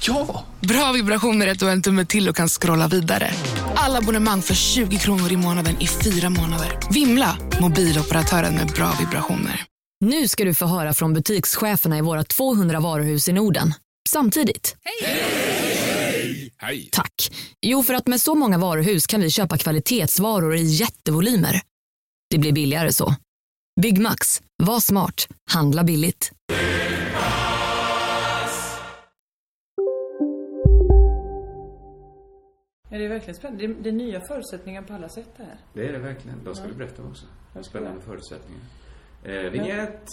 Ja! Bra vibrationer är att du har en tumme till och kan scrolla vidare. Alla abonnemang för 20 kronor i månaden i fyra månader. Vimla! Mobiloperatören med bra vibrationer. Nu ska du få höra från butikscheferna i våra 200 varuhus i Norden. Samtidigt. Hej! Tack. Jo, för att med så många varuhus kan vi köpa kvalitetsvaror i jättevolymer. Det blir billigare så. Byggmax. Var smart. Handla billigt. Ja, det är verkligen spännande. Det är, det är nya förutsättningar på alla sätt det här. Det är det verkligen. Då ska du berätta också. Spännande förutsättningar. Eh, vignett!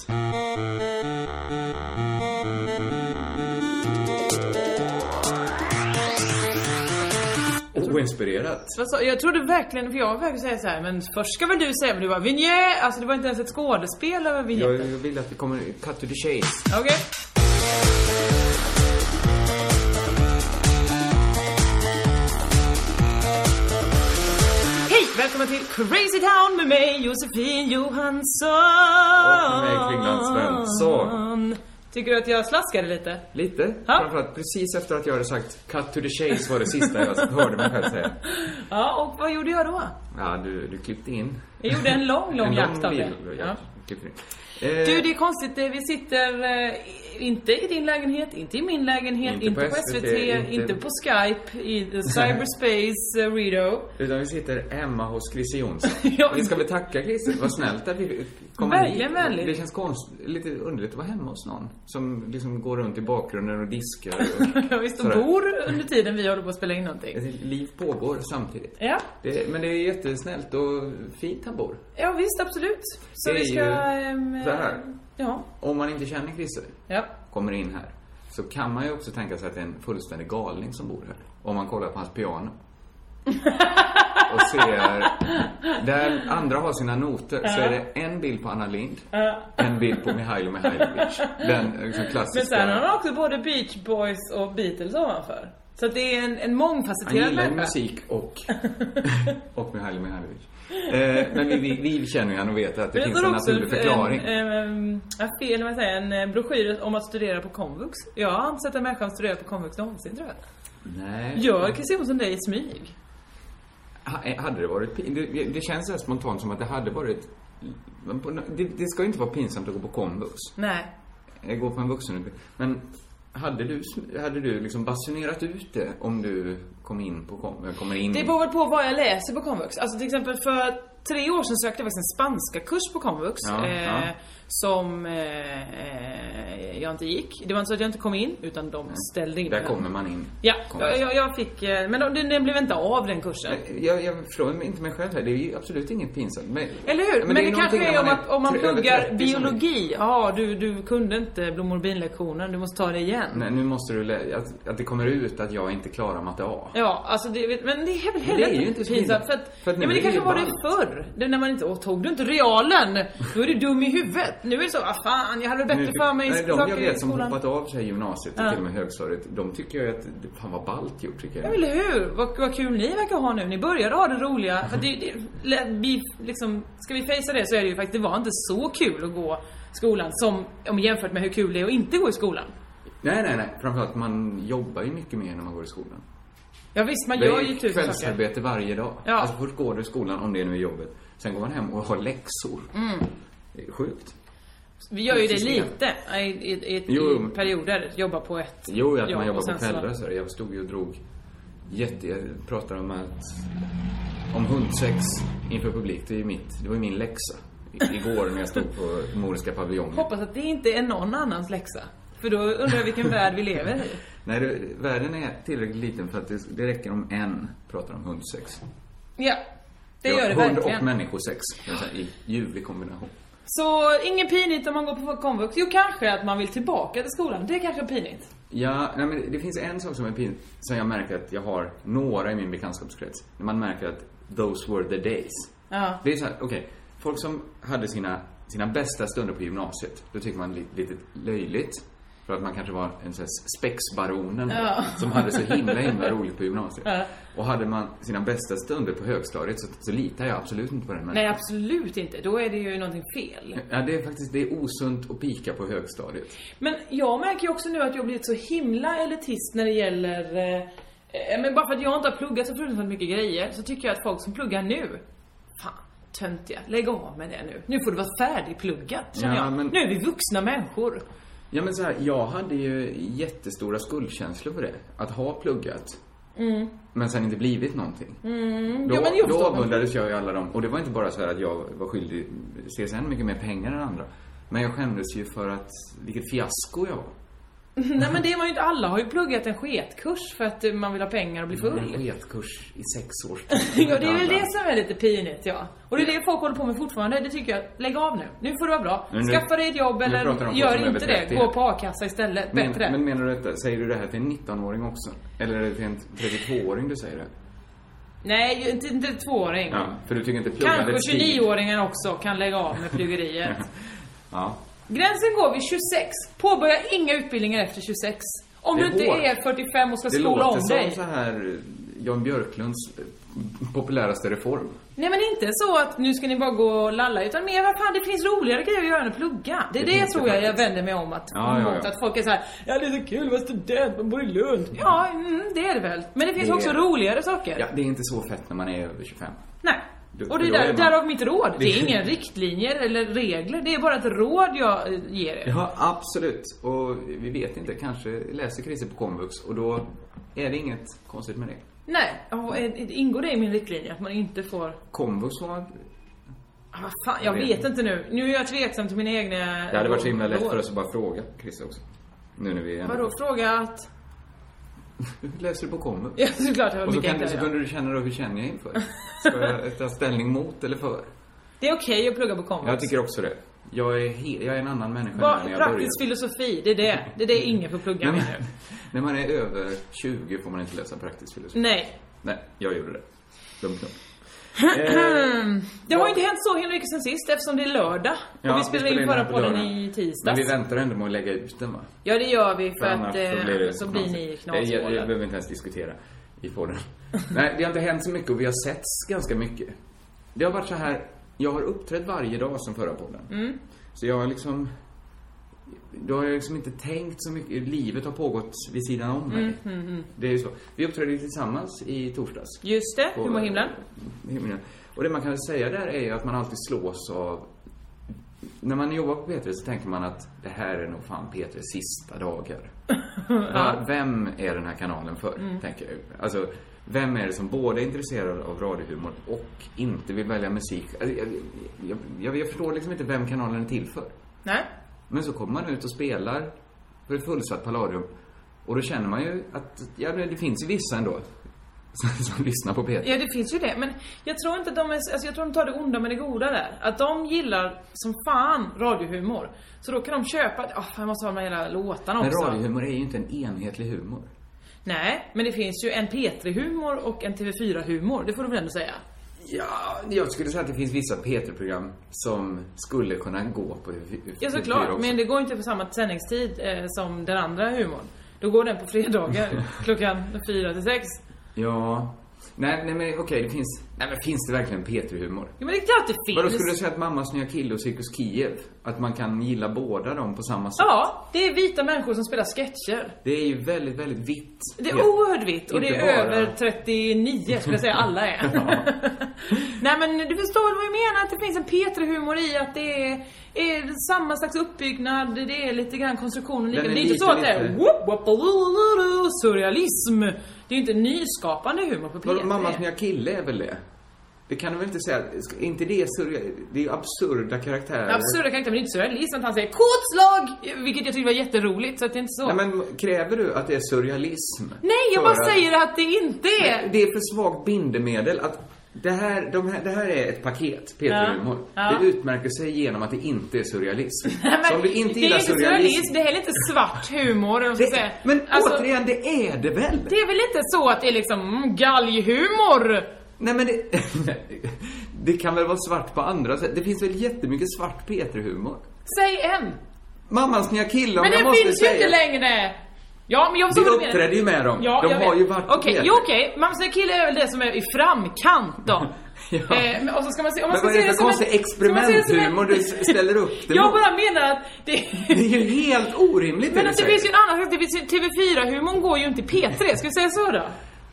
Oinspirerat. Vad sa- Jag trodde verkligen, för jag var verkligen säga så här, men först ska väl du säga, men du var vinjett. Alltså det var inte ens ett skådespel över Jag vinjetten. vill att vi kommer cut to the chase. Okej. Hej! Välkomna till Crazy Town med mig Josefin Johansson. Och med mig, Kringland Svensson. Tycker du att jag slaskade lite? Lite. Ja. Framförallt precis efter att jag hade sagt cut to the chase var det sista jag hörde mig själv säga. Ja, och vad gjorde jag då? Ja, du, du klippte in. Jag gjorde en lång, lång En jakt av det. bild- Ja. jakt. Klippte in. Eh, Du, det är konstigt. eh, Vi sitter eh, i- inte i din lägenhet, inte i min lägenhet, inte, på SVT, inte, inte- på Skype, i the cyberspace, eh, Rido. Utan vi sitter hemma hos Christer Jonsson. Ja. Vi ska väl tacka Christer, vad snällt att vi kom Verkligen vänligt. Det känns konst, lite underligt att vara hemma hos någon som liksom går runt i bakgrunden och diskar. Och, Jag visst och Sådär. bor under tiden vi håller på att spela in någonting. Ett liv pågår samtidigt. Ja, Det, men det är jättesnällt och fint han bor. ja visst, absolut. Så Det är vi ska... ju ehm, så här. Ja, Om man inte känner Christer, ja. kommer in här, så kan man ju också tänka sig att det är en fullständig galning som bor här. Om man kollar på hans piano. och ser... Där andra har sina noter så är det en bild på Anna Lind en bild på Mihailo Mihailovic. Den eh, liksom Men klassiska... sen har han också både Beach Boys och Beatles ovanför. Så att det är en, en Han mångfacetterad gillar ju musik och, och Mihailo Mihailovic. Eh, men vi, vi, vi känner ju han och vet att det Jag finns har en också eh, naturlig förklaring. En, en, affär, eller vad säger, jag, en eh, broschyr om att studera på komvux. Jag har inte sett en människa som studerar på komvux någonsin tror jag. Nej. Gör Christer Jonsson det i smyg? Ha- eh, Hade det varit pin- det, det känns så här spontant som att det hade varit... men på nå- Det, det ska ju inte vara pinsamt att gå på komvux. Nej. Eh, Gå på en vuxenutbildning. Men hade du, sm- hade du liksom basunerat ut det om du kom in på kom, eh, kommer in Det beror väl på vad jag läser på komvux. Alltså till exempel för tre år sedan sökte jag faktiskt en spanska kurs på komvux. Ja, eh, ja. Som eh, eh, jag inte gick. Det var inte så att jag inte kom in, utan de ställde in Där mig. kommer man in. Ja, Komvux. jag, jag- jag fick... eh, Men den- den blev inte av den kursen. Jag, jag förstår mig inte mig själv här. Det är ju absolut inget pinsamt. Men, Eller hur? Men, det, kanske någonting är om, när att, om man tre- över pluggar 30 som är- biologi. Ja, du, du kunde inte blommor och bin-lektionen, du måste ta det igen. Nej, nu måste du lä- att, att det kommer ut att jag inte klarar matte A. Ja, alltså det, vet- men det är väl det heller är ju inte så pinsamt. himla- För att, för att nu ja, men är det kanske det ju var det ballt. förr. Det, när man inte, åh, tog du inte realen? Då är du dum i huvudet. Nu är det så, ah, fan, jag hade bättre för mig nej, de jag saker i vet som skolan. hoppat av sig i gymnasiet och till och med högstadiet, de tycker jag att, det- fan vad ballt gjort tycker jag. Eller hur? Vad, vad kul ni verkar ha nu. Ni började ha det roliga. För det, det, lä- vi, liksom, ska vi fejsa det så är det ju faktiskt, det var inte så kul att gå skolan som, om jämfört med hur kul det är att inte gå i skolan. Nej, nej, nej. Framförallt man jobbar ju mycket mer när man går i skolan. Ja visst, man Det gör är ju ju tusen saker. kvällsarbete varje dag. Ja. Alltså först går du i skolan, om det nu är jobbet. Sen går man hem och har läxor. Mm. Det är sjukt. Vi gör ju det System. lite i, i, i, i Jo. perioder. Jobba på ett Jo, att man jobb jobbar och på sen så- kvällar och sådär. Jag stod ju och drog jätte... Jag pratade om att... Om hundsex inför publik. Det är ju mitt... Det var ju min läxa. I- Igår när jag stod på Moriska paviljongen. Hoppas att det inte är någon annans läxa. För då undrar jag vilken värld vi lever i. Nej, det, världen är tillräckligt liten för att det, det räcker om en pratar om hundsex. Ja, det gör det hund och verkligen. människosex, kan jag säga, i ljuvlig kombination. Så ingen pinigt om man går på komvux. Jo, kanske att man vill tillbaka till skolan. Det är kanske är pinigt. Ja, nej, men det finns en sak som är pin som jag märker att jag har några i min bekantskapskrets. När man märker att those were the days. Ja. Det är så här, okej. Folk som hade sina, sina bästa stunder på gymnasiet, då tycker man li, lite löjligt. För att man kanske var en sån här spexbaronen som hade så himla, himla roligt på gymnasiet. Och hade man sina bästa stunder på högstadiet så, så litar jag absolut inte på den människan. Nej, absolut inte. Då är det ju någonting fel. Ja, det är faktiskt, det är osunt att pika på högstadiet. Men jag märker ju också nu att jag har blivit så himla elitist när det gäller... Eh, eh, men bara för att jag inte har pluggat så fruktansvärt mycket grejer så tycker jag att folk som pluggar nu, fan töntiga, lägg av med det nu. Nu får du vara färdigpluggat, känner Ja, jag. men- Nu är vi vuxna människor. Ja men så här, jag hade ju jättestora skuldkänslor för det. Att ha pluggat. Men sen inte blivit någonting. Då, Mm. ja, men jag då förstår. avundades jag ju alla dem. Och det var inte bara så här att jag var skyldig CSN mycket mer pengar än andra. Men jag skämdes ju för att, vilket fiasko jag var. Nej men det är man ju inte. Alla har ju pluggat en sketkurs för att eh, man vill ha pengar och bli En full. retkurs i sex års Ja, det är väl det som är lite pinigt ja. Och det är det folk håller på med fortfarande. Det tycker jag, lägg av nu. Nu får du vara bra. Men nu- Skaffa dig ett jobb nu eller pratar de om folk som gör inte är över det. 30. Gå på a-kassa istället. men, Bättre. men menar du detta, säger du det här till en 19-åring också? Eller är det till en 32-åring du säger det? Nej, ju inte, inte tvååring. Ja, för du tycker inte pluggandet Kanske stig- 29-åringen också kan lägga av med pluggeriet. Ja. Gränsen går vid 26. Påbörja inga utbildningar efter 26. Om Det du inte går. är 45 och ska Det skola låter om som dig. så här Jan Björklunds eh, populäraste reform. Nej men inte så att nu ska ni bara gå och lalla utan mer vad fan det finns roligare grejer att göra än att plugga. Det är det, Det finns jag tror det jag, jag faktiskt. vänder mig om att, Ja, ja, ja. mot, att folk är så här, ja det är så kul att vara student, man bor i Lund. Ja, mm, det är det väl. Men det finns Det- också roligare saker. Ja, det är inte så fett när man är över 25. Nej. Då- Och det är då är där, man- därav mitt råd. Det är inga riktlinjer eller regler. Det är bara ett råd jag eh, ger er. Ja, absolut. Och vi vet inte, kanske läser Christer på komvux och då är det inget konstigt med det. Nej, ja, eh, ingår det i min riktlinje att man inte får... Komvux var... Ah, vad fan, jag Jag vet vet inte nu. Nu är jag tveksam till mina egna Det hade varit så himla lätt råd. för oss att bara fråga Christer också. Nu när vi är... Vadå, fråga att... Läser du på komvux? Ja, såklart jag var Och så, mycket kan, du- så enklare. kunde du känna då, hur känner jag inför? Ska jag ta ställning mot eller för? Det är okej att plugga på komvux. Jag tycker också det. Jag är, he- jag är en annan människa Bara nu när jag börjar. praktisk filosofi, det är det. Det är det ingen får plugga När man, med nu. när man är över 20 får man inte läsa praktisk filosofi. Nej. Nej, jag gjorde det. Dumt nog. Eh, Det har ju inte hänt så himla mycket sen sist eftersom det är lördag. Ja, och vi spelade in den här förra på podden lördagen. i Men tisdags. vi väntar ändå med att lägga ut den va? Ja, det gör vi för, annars att eh, så blir, det ni knasigt. Det- Det knashålen. behöver vi inte ens diskutera i podden. Nej, det har inte hänt så mycket och vi har setts ganska mycket. Det har varit så här, jag har uppträtt varje dag sen förra podden. Mm. Så jag har liksom... Då har jag liksom inte tänkt så mycket. Livet har pågått vid sidan om mig. Mm, Det är ju så. Vi uppträdde ju tillsammans i torsdags. Just det, på- humorhimlen. himlen. Och det man kan säga där är ju att man alltid slås av... När man jobbar på P3 så tänker man att det här är nog fan P3 sista dagar. Va- Vem är den här kanalen för? Tänker jag ju. Alltså, vem är det som både är intresserad av radiohumor och inte vill välja musik? Alltså, Jag, jag, jag, jag förstår liksom inte vem kanalen är till för. Nej. Men så kommer man ut och spelar på ett fullsatt Palladium. Och då känner man ju att, ja men det finns ju vissa ändå. Som, som lyssnar på P3. Ja, det finns ju det. Men jag tror inte att de är, alltså jag tror de tar det onda med det goda där. Att de gillar som fan radiohumor. Så då kan de köpa, ah jag måste ha de här hela låtarna Men också. radiohumor är ju inte en enhetlig humor. Nej, men det finns ju en P3-humor och en TV4-humor. Det får du väl ändå säga? Ja, jag skulle säga att det finns vissa P3-program som skulle kunna gå på Ja, såklart. Men det går inte på samma sändningstid eh, som den andra humorn. Då går den på fredagar klockan fyra till sex. Ja. Nej, nej men okej, det finns... Nej men finns det verkligen P3-humor? Ja, men det är klart det finns. Vadå, skulle du säga att Mammas nya kille och Cirkus Kiev, att man kan gilla båda dem på samma sätt? Ja, det är vita människor som spelar sketcher. Det är ju väldigt, väldigt vitt. Det är Ja. oerhört vitt och det Inte är bara- över 39 skulle jag säga alla är. Nej men du förstår väl vad jag menar? Att det finns en P3-humor i att det är, är samma slags uppbyggnad, det är lite grann konstruktionen lika. Den Det är är inte lite, så att det är lite- whoop, whoop, lulululu, surrealism. Det är ju inte nyskapande humor på Vadå, P3. mammas nya kille är väl det? Det kan du väl inte säga? Ska- Inte det surre... Det är ju absurda karaktärer. Absurda karaktärer, men det är inte surrealism att han säger kortslag! Vilket jag tycker var jätteroligt, så att det är inte så. Nej men kräver du att det är surrealism? Nej, jag För bara att- säger att det inte är. Det är för svagt bindemedel att det här, de här, det här är ett paket, Peter Humor. Ja. Det utmärker sig genom att det inte är surrealism. Nej, men Så om du inte det är gillar inte surrealism... det är heller inte svart humor. eller vad man Det, ska säga. men Alltså, återigen, det är det väl? det är väl inte så att det är liksom mm, galghumor? Nej men det, det kan väl vara svart på andra sätt. Det finns väl jättemycket svart Peter-humor. Säg en! Mamman snea killar, om Men jag det måste finns ju säga. inte längre! Ja, men jag förstår Vi vad du menar. uppträdde ju med dem. Ja, De jag har vet. ju varit Okej, med. jo okej. Man säger kille är väl det som är i framkant då. Ja. eh, men- och så ska man se, om man Men ska vad se är det för som en- konstig ska man se det som en- experimenthumor du s- ställer upp det Jag mot? bara menar att det... Det är ju helt orimligt Men det att du det säger. finns ju en annan sak, det finns ju TV4-humorn går ju inte i P3, ska vi säga så då?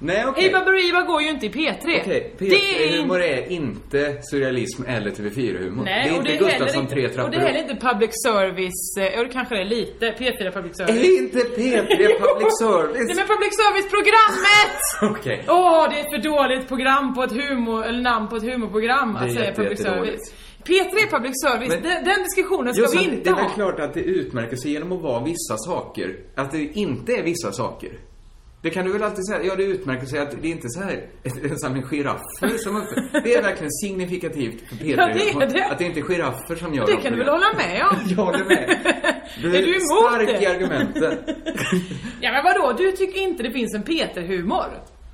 Nej okej. Hey Baberiba går ju inte i P3. Okej, Eh, det är P3-humor är inte surrealism eller TV4-humor. Det Nej, är och inte det är heller Gustafsson inte- tre Och trappor det är heller inte public service, eh, ja det kanske det är lite, P4 public service. Är inte P3 public Nej service? men public service-programmet! Okej. Åh, det är ett för dåligt program på ett humor, eller namn på ett humorprogram Det är att säga jätte- public service. jättedåligt. P3 är public service, Men- den, den diskussionen ska Just vi att det inte är väl ha. klart att det utmärker sig genom att vara vissa saker. Att det inte är vissa saker. Det kan du väl alltid säga? Ja, det utmärker sig att det är inte så här en samling giraffer som uppträder. Det är verkligen signifikativt för P3. Ja, det är det. Att det inte är giraffer som gör Det de kan du väl programmen. hålla med om? Jag håller med. Du Är du emot stark det? i argumenten. Ja men vadå, du tycker inte det finns en P3-humor?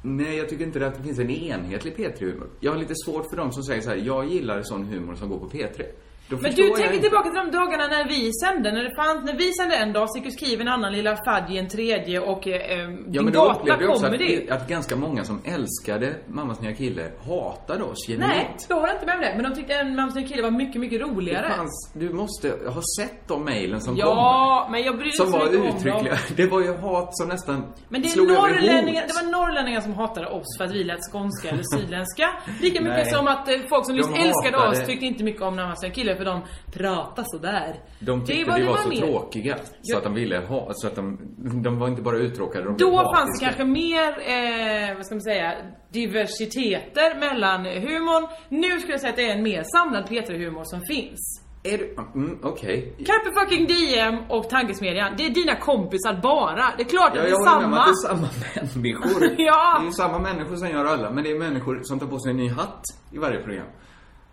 Nej, jag tycker inte att det finns en enhetlig P3-humor. Jag har lite svårt för dem som säger så här, jag gillar sån humor som går på P3. Då Men förstår du jag tänker inte. tillbaka till de dagarna när vi sände, när det fanns, när vi sände en dag, Cirkus Kiv en annan, Lilla Fadji en tredje och eh, eh, Ja, Din men då Gata upplevde jag också att, Comedy. att ganska många som älskade Mammas nya kille hatade oss genuint. Nej, jag håller inte med om det. Men de tyckte en Mammas nya kille var mycket, mycket roligare. Det fanns, du måste ha sett de mejlen som kom. Ja, men jag bryr mig Som så var mycket om dem. uttryckliga. Det var ju hat som nästan Men det, är slog över i norrlänningar, hot. det var norrlänningar som hatade oss för att vi lät skånska eller sydländska. Lika mycket Nej. som att eh, folk som De just älskade hatade- oss tyckte inte mycket om närmaste killar för de pratade sådär. De tyckte var- vi var, så mer. tråkiga så Jag- att de ville ha, så att de, de var inte bara uttråkade, de blev Då fanns det kanske hatiska. mer, eh, vad ska man säga, diversiteter mellan humorn. Nu skulle jag säga att det är en mer samlad P3-humor som finns. Är du, mm, okej. Carpe fucking DM och Tankesmedjan, det är dina kompisar bara. Det är klart Ja, att det jag är håller med om samma. att det är samma människor. Ja. Det är samma människor som gör alla, men det är människor som tar på sig en ny hatt i varje program.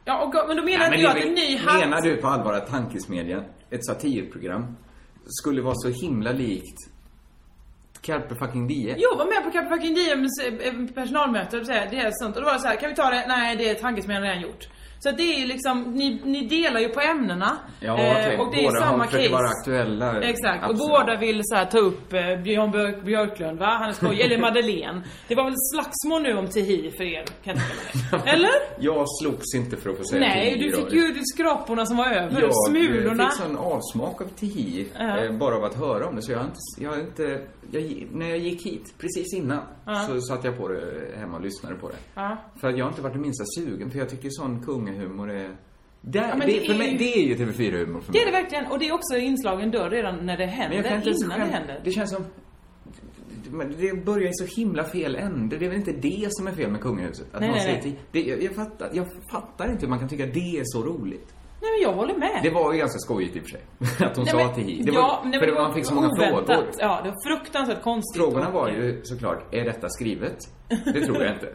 Ja, och, men då menar Nej, inte men jag att det är en väl- ny hatt... Menar du på allvar att Tankesmedjan, ett satirprogram, skulle vara så himla likt Carpe fucking Die? Jo, var med på Kappa Fucking DMs eh, eh, personalmöte och säga det är sånt. Och då var det så här, kan vi ta det? Nej, det är tankesmedjan redan gjort. Så att det är ju liksom, ni, ni delar ju på ämnena. Ja, Eh, okej. och det är ju Båda har- samma försöker case. vara aktuella. Exakt, Absolut. och båda vill så här, ta upp eh, Björn Björk, Björklund va? Han är skoj, eller Madeleine. Det var väl slagsmål nu om Tihi för er, kan jag tänka mig. Eller? Jag slogs inte för att få säga Nej, till du i fick radio. ju skraporna som var över, jag eh, smulorna. fick sån avsmak av Tihi, Ja. eh, bara av att höra om det. Så jag har inte, jag har inte jag, när jag gick hit, precis innan, så satt jag på det hemma och lyssnade på det. Ja. För att jag har inte varit det minsta sugen, för jag tycker sån kungahumor är... Där, men det, det för är mig, ju- det är ju TV4-humor för mig. Det är det verkligen, och det är också inslagen dörr redan när det Men händer, jag kan inte ens innan det skäm- händer. Det känns som... Men det börjar i så himla fel ände. Det är väl inte det som är fel med kungahuset? Att Nej, man nej, säger nej. till, det, jag, jag, fattar, jag fattar inte hur man kan tycka det är så roligt. Nej men jag håller med. Det var ju ganska skojigt i och för sig. Att hon Nej, sa men- till Hi. Det var, ja, nej, för men det, man var fick så många oväntat. frågor. Ja, det var fruktansvärt konstigt. Frågorna var ju såklart, är detta skrivet? Det tror jag inte.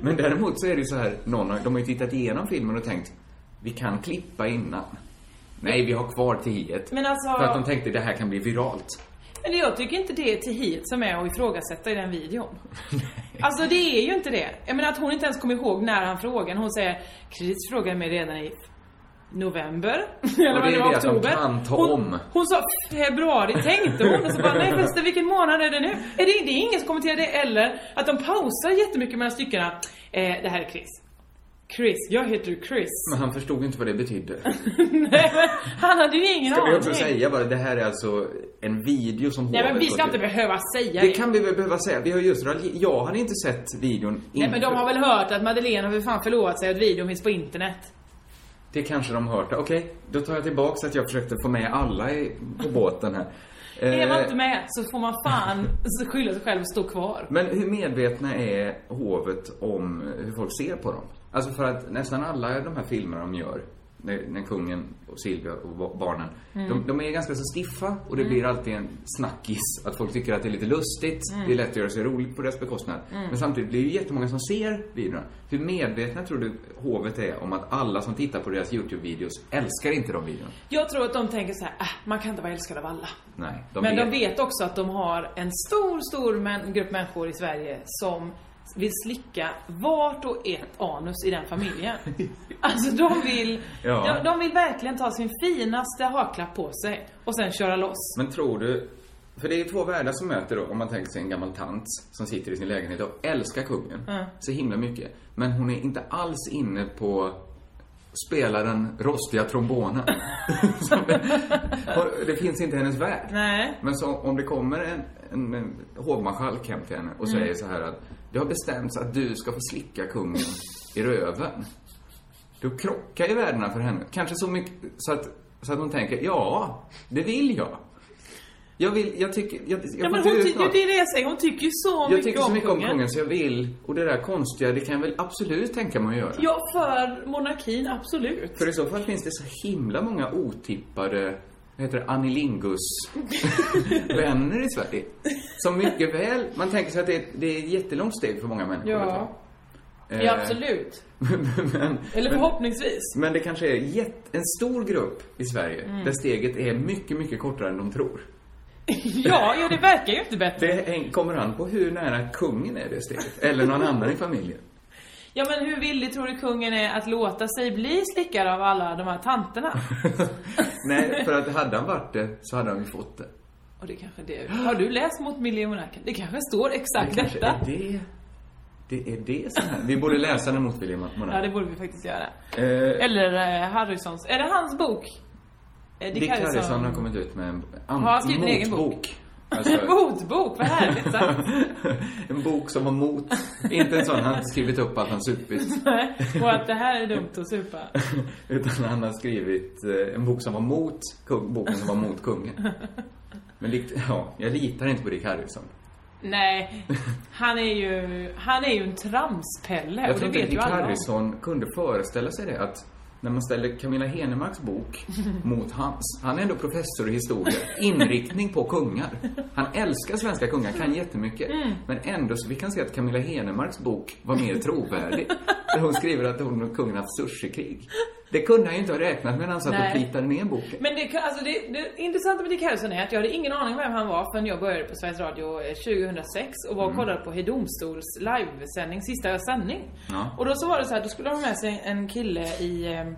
Men däremot så är det ju så här, någon har, de har ju tittat igenom filmen och tänkt, vi kan klippa innan. Nej, vi har kvar tiet. Men alltså- För att de tänkte, det här kan bli viralt. Men jag tycker inte det är Tihiet som är att ifrågasätta i den videon. alltså det är ju inte det. Jag menar att hon inte ens kommer ihåg när han frågade. Hon säger, Chris frågade mig redan i november. Eller Och vad det är det det var, att de oktober. kan ta hon, om. Hon sa februari tänkte hon. Och så bara, nej förresten vilken månad är det nu? Är det, det är ingen som kommenterar det. Eller att de pausar jättemycket mellan styckena. Eh, det här är Chris. Chris, jag heter Chris. Men han förstod ju inte vad det betydde. Nej, men han hade ju ingen Ska aning. vi också säga bara, det här är alltså en video som Nej men hovet vi ska har- inte behöva säga Det kan vi väl behöva säga. Vi har just ralj- Jag hade inte sett videon Nej inför- men de har väl hört att Madeleine har för fan förlovat sig att videon finns på internet. Det kanske de hört. Okej, då tar jag tillbaks att jag försökte få med alla i, på båten här. Är man Eh, inte med så får man fan skylla sig själv och stå kvar. Men hur medvetna är hovet om hur folk ser på dem? Alltså för att nästan alla de här filmerna de gör, när, när kungen och Silvia och ba- barnen, Mm. de, de är ganska så stiffa och det blir alltid en snackis. Att folk tycker att det är lite lustigt, Mm. det är lätt att göra sig roligt på deras bekostnad. Men samtidigt blir det ju jättemånga som ser videorna. Hur medvetna tror du hovet är om att alla som tittar på deras YouTube-videos älskar inte de videorna? Jag tror att de tänker så här, äh, man kan inte vara älskad av alla. Nej, men de vet också att de har en stor, stor män- grupp människor i Sverige som vill slicka vart och ett anus i den familjen. Alltså de vill, Ja. de, de vill verkligen ta sin finaste haklapp på sig och sen köra loss. Men tror du... För det är ju två världar som möter då, om man tänker sig en gammal tant som sitter i sin lägenhet och älskar kungen så himla mycket. Men hon är inte alls inne på spela den rostiga trombonen. Som- och det finns inte i hennes värld. Nej. Men så, om det kommer en, en, en hovmarskalk hem till henne och Mm. säger så här att det har bestämts att du ska få slicka kungen i röven. Då krockar ju värdena för henne. Kanske så mycket så att, så att hon tänker, ja, det vill jag. Jag vill, jag tycker, jag, jag Ja, får men inte hon, ut ty- det något. är det jag säger, hon tycker ju så Jag mycket, tycker så mycket om kungen. kungen så jag vill. Och det där konstiga, det kan jag väl absolut tänka mig att göra. Ja, för monarkin, absolut. För i så fall finns det så himla många otippade, vad heter det, Anilingus-vänner i Sverige. Som mycket väl, man tänker sig att det är, det är ett jättelångt steg för många människor Ja. att ta. Eh, Ja, absolut. men, Eller förhoppningsvis. men det kanske är jätt, en stor grupp i Sverige Mm. där steget är mycket, mycket kortare än de tror. Ja, ja, det verkar ju inte bättre. Det häng- kommer an på hur nära kungen är det steget, eller någon annan i familjen. Ja, men hur villig tror du kungen är att låta sig bli slickad av alla de här tanterna? Nej, för att hade han varit det så hade han ju fått det. Och det kanske det Har du läst mot miljonärken? Det kanske står exakt Kanske detta. är det... Det är det som händer. Vi borde läsa den mot William Monark. Ja, det borde vi faktiskt göra. Eh, Eller eh, Harrisons. Är det hans bok? Eh, Dick Harrison har kommit ut med en an- Har han skrivit en egen bok? motbok. Alltså, Motbok, vad härligt sagt. en bok som var mot. Inte en sån han skrivit upp att han supit. Och att det här är dumt att supa. Utan han har skrivit eh, en bok som var mot kung, boken som var mot kungen. Men likt, ja, jag litar inte på Dick Harrison. Nej, han är ju, han är ju en tramspelle. Jag Och tror det inte vet ju Dick alla om. Harrison kunde föreställa sig det att när man ställer Camilla Henemarks bok mot hans. Han är ändå professor i historia. Inriktning på kungar. Han älskar svenska kungar, kan jättemycket. Mm. Men ändå så vi kan se att Camilla Henemarks bok var mer trovärdig. Där hon skriver att hon och kungen haft sushikrig. Det kunde han ju inte ha räknat med när han satt Nej. och plitade ner boken. Men det, kan- alltså det, det intressanta med Dick Harrison är att jag hade ingen aning om vem han var förrän jag började på Sveriges Radio eh, 2006 och var och Mm. kollade på Hej Domstols livesändning, sista sändning. Ja. Och då så var det så här, då skulle de ha med sig en kille i, eh,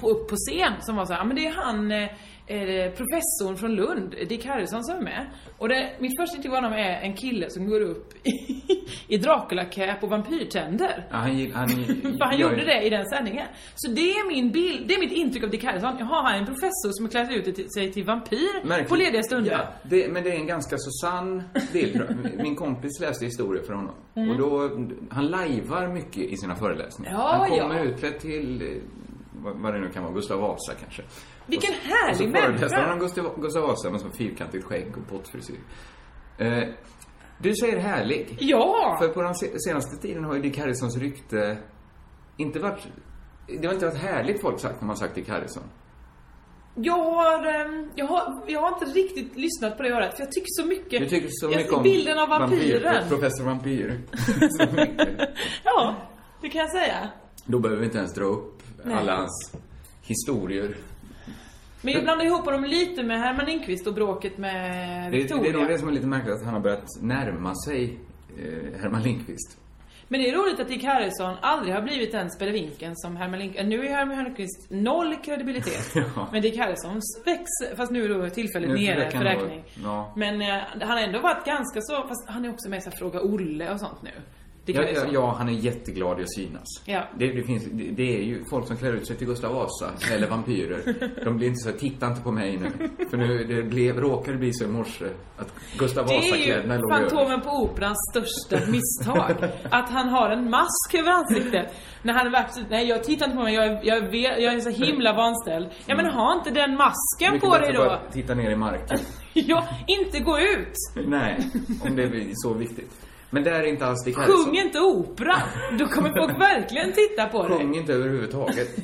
på, upp på scen som var så här, "Ja, men det är han eh, eh, professorn från Lund, Dick Harrison som är med. Och det, mitt första intryck av honom är en kille som går upp i, i Dracula-cap och vampyrtänder. Ja, han, gill- han, För han gör- gjorde det i den sändningen. Så det är min bild, det är mitt intryck av Dick Harrison. Jaha, han är en professor som har klätt ut till- sig till vampyr Märkligt. på lediga stunder. Ja, det, men det är en ganska så sann bild. tror jag. Min kompis läste historia för honom. Mm. Och då, han lajvar mycket i sina föreläsningar. Ja, han ja. kommer utklädd till, eh, vad, vad det nu kan vara, Gustav Vasa kanske. Vilken Och så- härlig Och så föreläste han människa! om Gustav, Gustav Vasa med så fyrkantigt skägg och pottfrisyr. Eh, du säger härlig. Ja! För på den se- senaste tiden har ju Dick Harrisons rykte inte varit... Det har inte varit härligt folk sagt när man sagt Dick Harrison. Jag har, ehm, jag, har, jag har inte riktigt lyssnat på det örat, för jag tycker så mycket... Du tycker så jag, mycket om Bilden av vampyren. Professor Vampyr. så mycket. ja, det kan jag säga. Då behöver vi inte ens dra upp alla hans historier. Men jag blandar ihop honom lite med Herman Lindqvist och bråket med Det, det Victoria. är nog det som är lite märkligt, att han har börjat närma sig eh, Herman Lindqvist. Men det är roligt att Dick Harrison aldrig har blivit den spelevinken som Herman Lindqvist. Nu är Herman Lindqvist noll kredibilitet. Ja. Men Dick Harrison växer, fast nu är då tillfället Nu nere försöker för han då- räkning. ja. Men eh, han har ändå varit ganska så, fast han är också med i så här Fråga Olle och sånt nu. Dick Ja, ja, Harrison. ja, han är jätteglad i att synas. Ja. Det, det, finns, det, det är ju folk som klär ut sig till Gustav Vasa, eller vampyrer. De blir inte så här, titta inte på mig nu. För nu det blev, råkade bli så i morse att Gustav Det är ju Vasa-kläderna låg över. Fantomen på Operans största misstag. att han har en mask över ansiktet. När han verkligen, nej jag tittar inte på mig, jag, är- jag, är ve- jag är så himla vanställd. Ja men ha inte den masken Mycket på dig bättre då. bara Titta ner i marken. Ja, inte gå ut. Nej, om det är så viktigt. Men där är inte alls Dick Harrison. Sjung inte opera! Då kommer folk verkligen titta på dig. Sjung inte överhuvudtaget.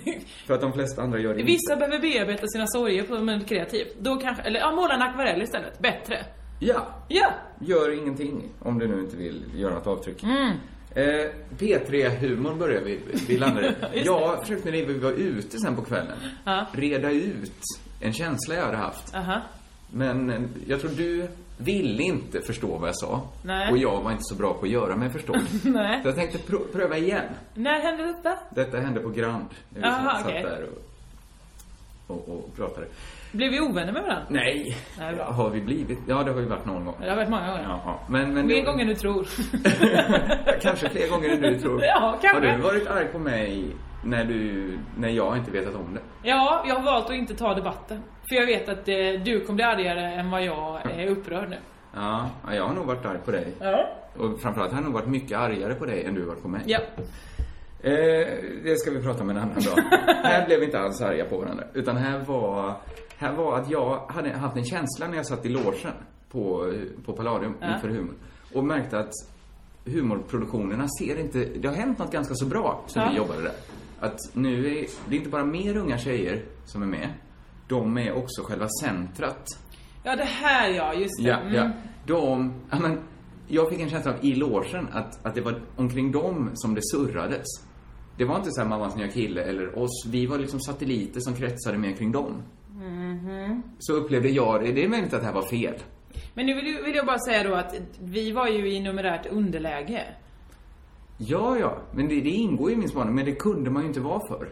För att de flesta andra gör det Vissa behöver bearbeta sina sorger på men kreativt. Då kanske, eller ja, måla en akvarell istället. Bättre. Ja, Ja! gör ingenting om du nu inte vill göra något avtryck. Mm. Eh, P3-humorn börjar vi, vi landar i. Jag försökte när vi var ute sen på kvällen Ja. reda ut en känsla jag hade haft. Aha. Men eh, jag tror du ville inte förstå vad jag sa. Nej. Och jag var inte så bra på att göra mig förstådd. Nej. Så jag tänkte pr- pröva igen. När hände detta? Detta hände på Grand. Jag Aha, satt okej. där och, och, och pratade. Blev vi ovänner med varandra? Nej, Nej, bra. har vi blivit? Ja, det har ju varit någon gång. Det har varit många gånger. Jaha. Men, men Mer gånger än du tror. Kanske fler gånger än du tror. Ja, kanske. Har du varit arg på mig när, du, när jag inte vetat om det? Ja, jag har valt att inte ta debatten. För jag vet att eh, du kommer bli argare än vad jag är upprörd nu. Ja, ja, jag har nog varit arg på dig. Ja. Och framförallt har jag nog varit mycket argare på dig än du har varit på mig. Ja. Eh, det ska vi prata om en annan dag. här blev vi inte alls arga på varandra. Utan här var, här var att jag hade haft en känsla när jag satt i logen på, på Palladium inför humor. Och märkte att humorproduktionerna ser inte... Det har hänt något ganska så bra sen Ja. vi jobbade där. Att nu är det är inte bara mer unga tjejer som är med. De är också själva centrat Ja, det här ja, just det. Ja, Mm. ja. De, ja, men, jag fick en känsla av i logen att, att det var omkring dem som det surrades. Det var inte så här mammas nya kille eller oss. Vi var liksom satelliter som kretsade mer kring dem. Så upplevde jag det. Det är möjligt att det här var fel. Men nu vill, ju- vill jag bara säga då att vi var ju i numerärt underläge. Ja, ja. Men det, det ingår ju i min spaning. Men det kunde man ju inte vara för.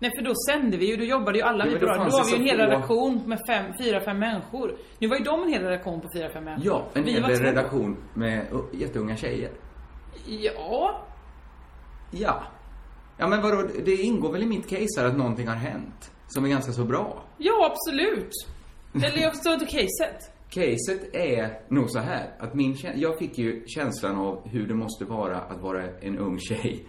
Nej för då sände vi ju, då jobbade ju alla Ja, vi men på då radion. Då fanns var vi det ju en så hel få. redaktion med fem, fyra, fem människor. Nu var ju de en hel redaktion på fyra, fem människor. Ja, en Vi hel var del två. redaktion med uh, jätteunga tjejer. Ja, Ja. Ja, men vadå? Det ingår väl i mitt case här att någonting har hänt som är ganska så bra. ja absolut. Eller jag förstår inte caset. Caset är nog så här att min kä- jag fick ju känslan av hur det måste vara att vara en ung tjej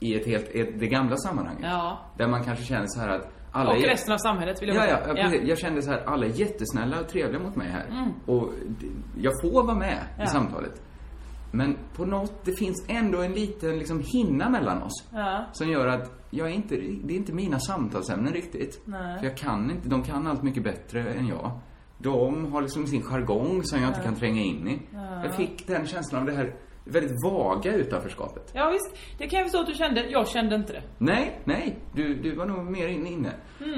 i ett helt, ett, det gamla sammanhanget. Ja. Där man kanske känner så här att alla Och är- resten av samhället vill jag Ja, ja, bara ja, säga. precis. Jag kände så här, alla är jättesnälla och trevliga mot mig här. Och d- jag får vara med Mm. Ja. i samtalet. Men på något, det finns ändå en liten liksom hinna mellan oss. Ja. Som gör att jag är inte, det är inte mina samtalsämnen riktigt. Nej. För jag kan inte, de kan allt mycket bättre än jag. De har liksom sin jargong som jag inte kan tränga in i. Jag fick den känslan av det här väldigt vaga utanförskapet. Ja visst, det kan jag förstå att du kände. Jag kände inte det. Nej, nej. Du, du var nog mer in- inne.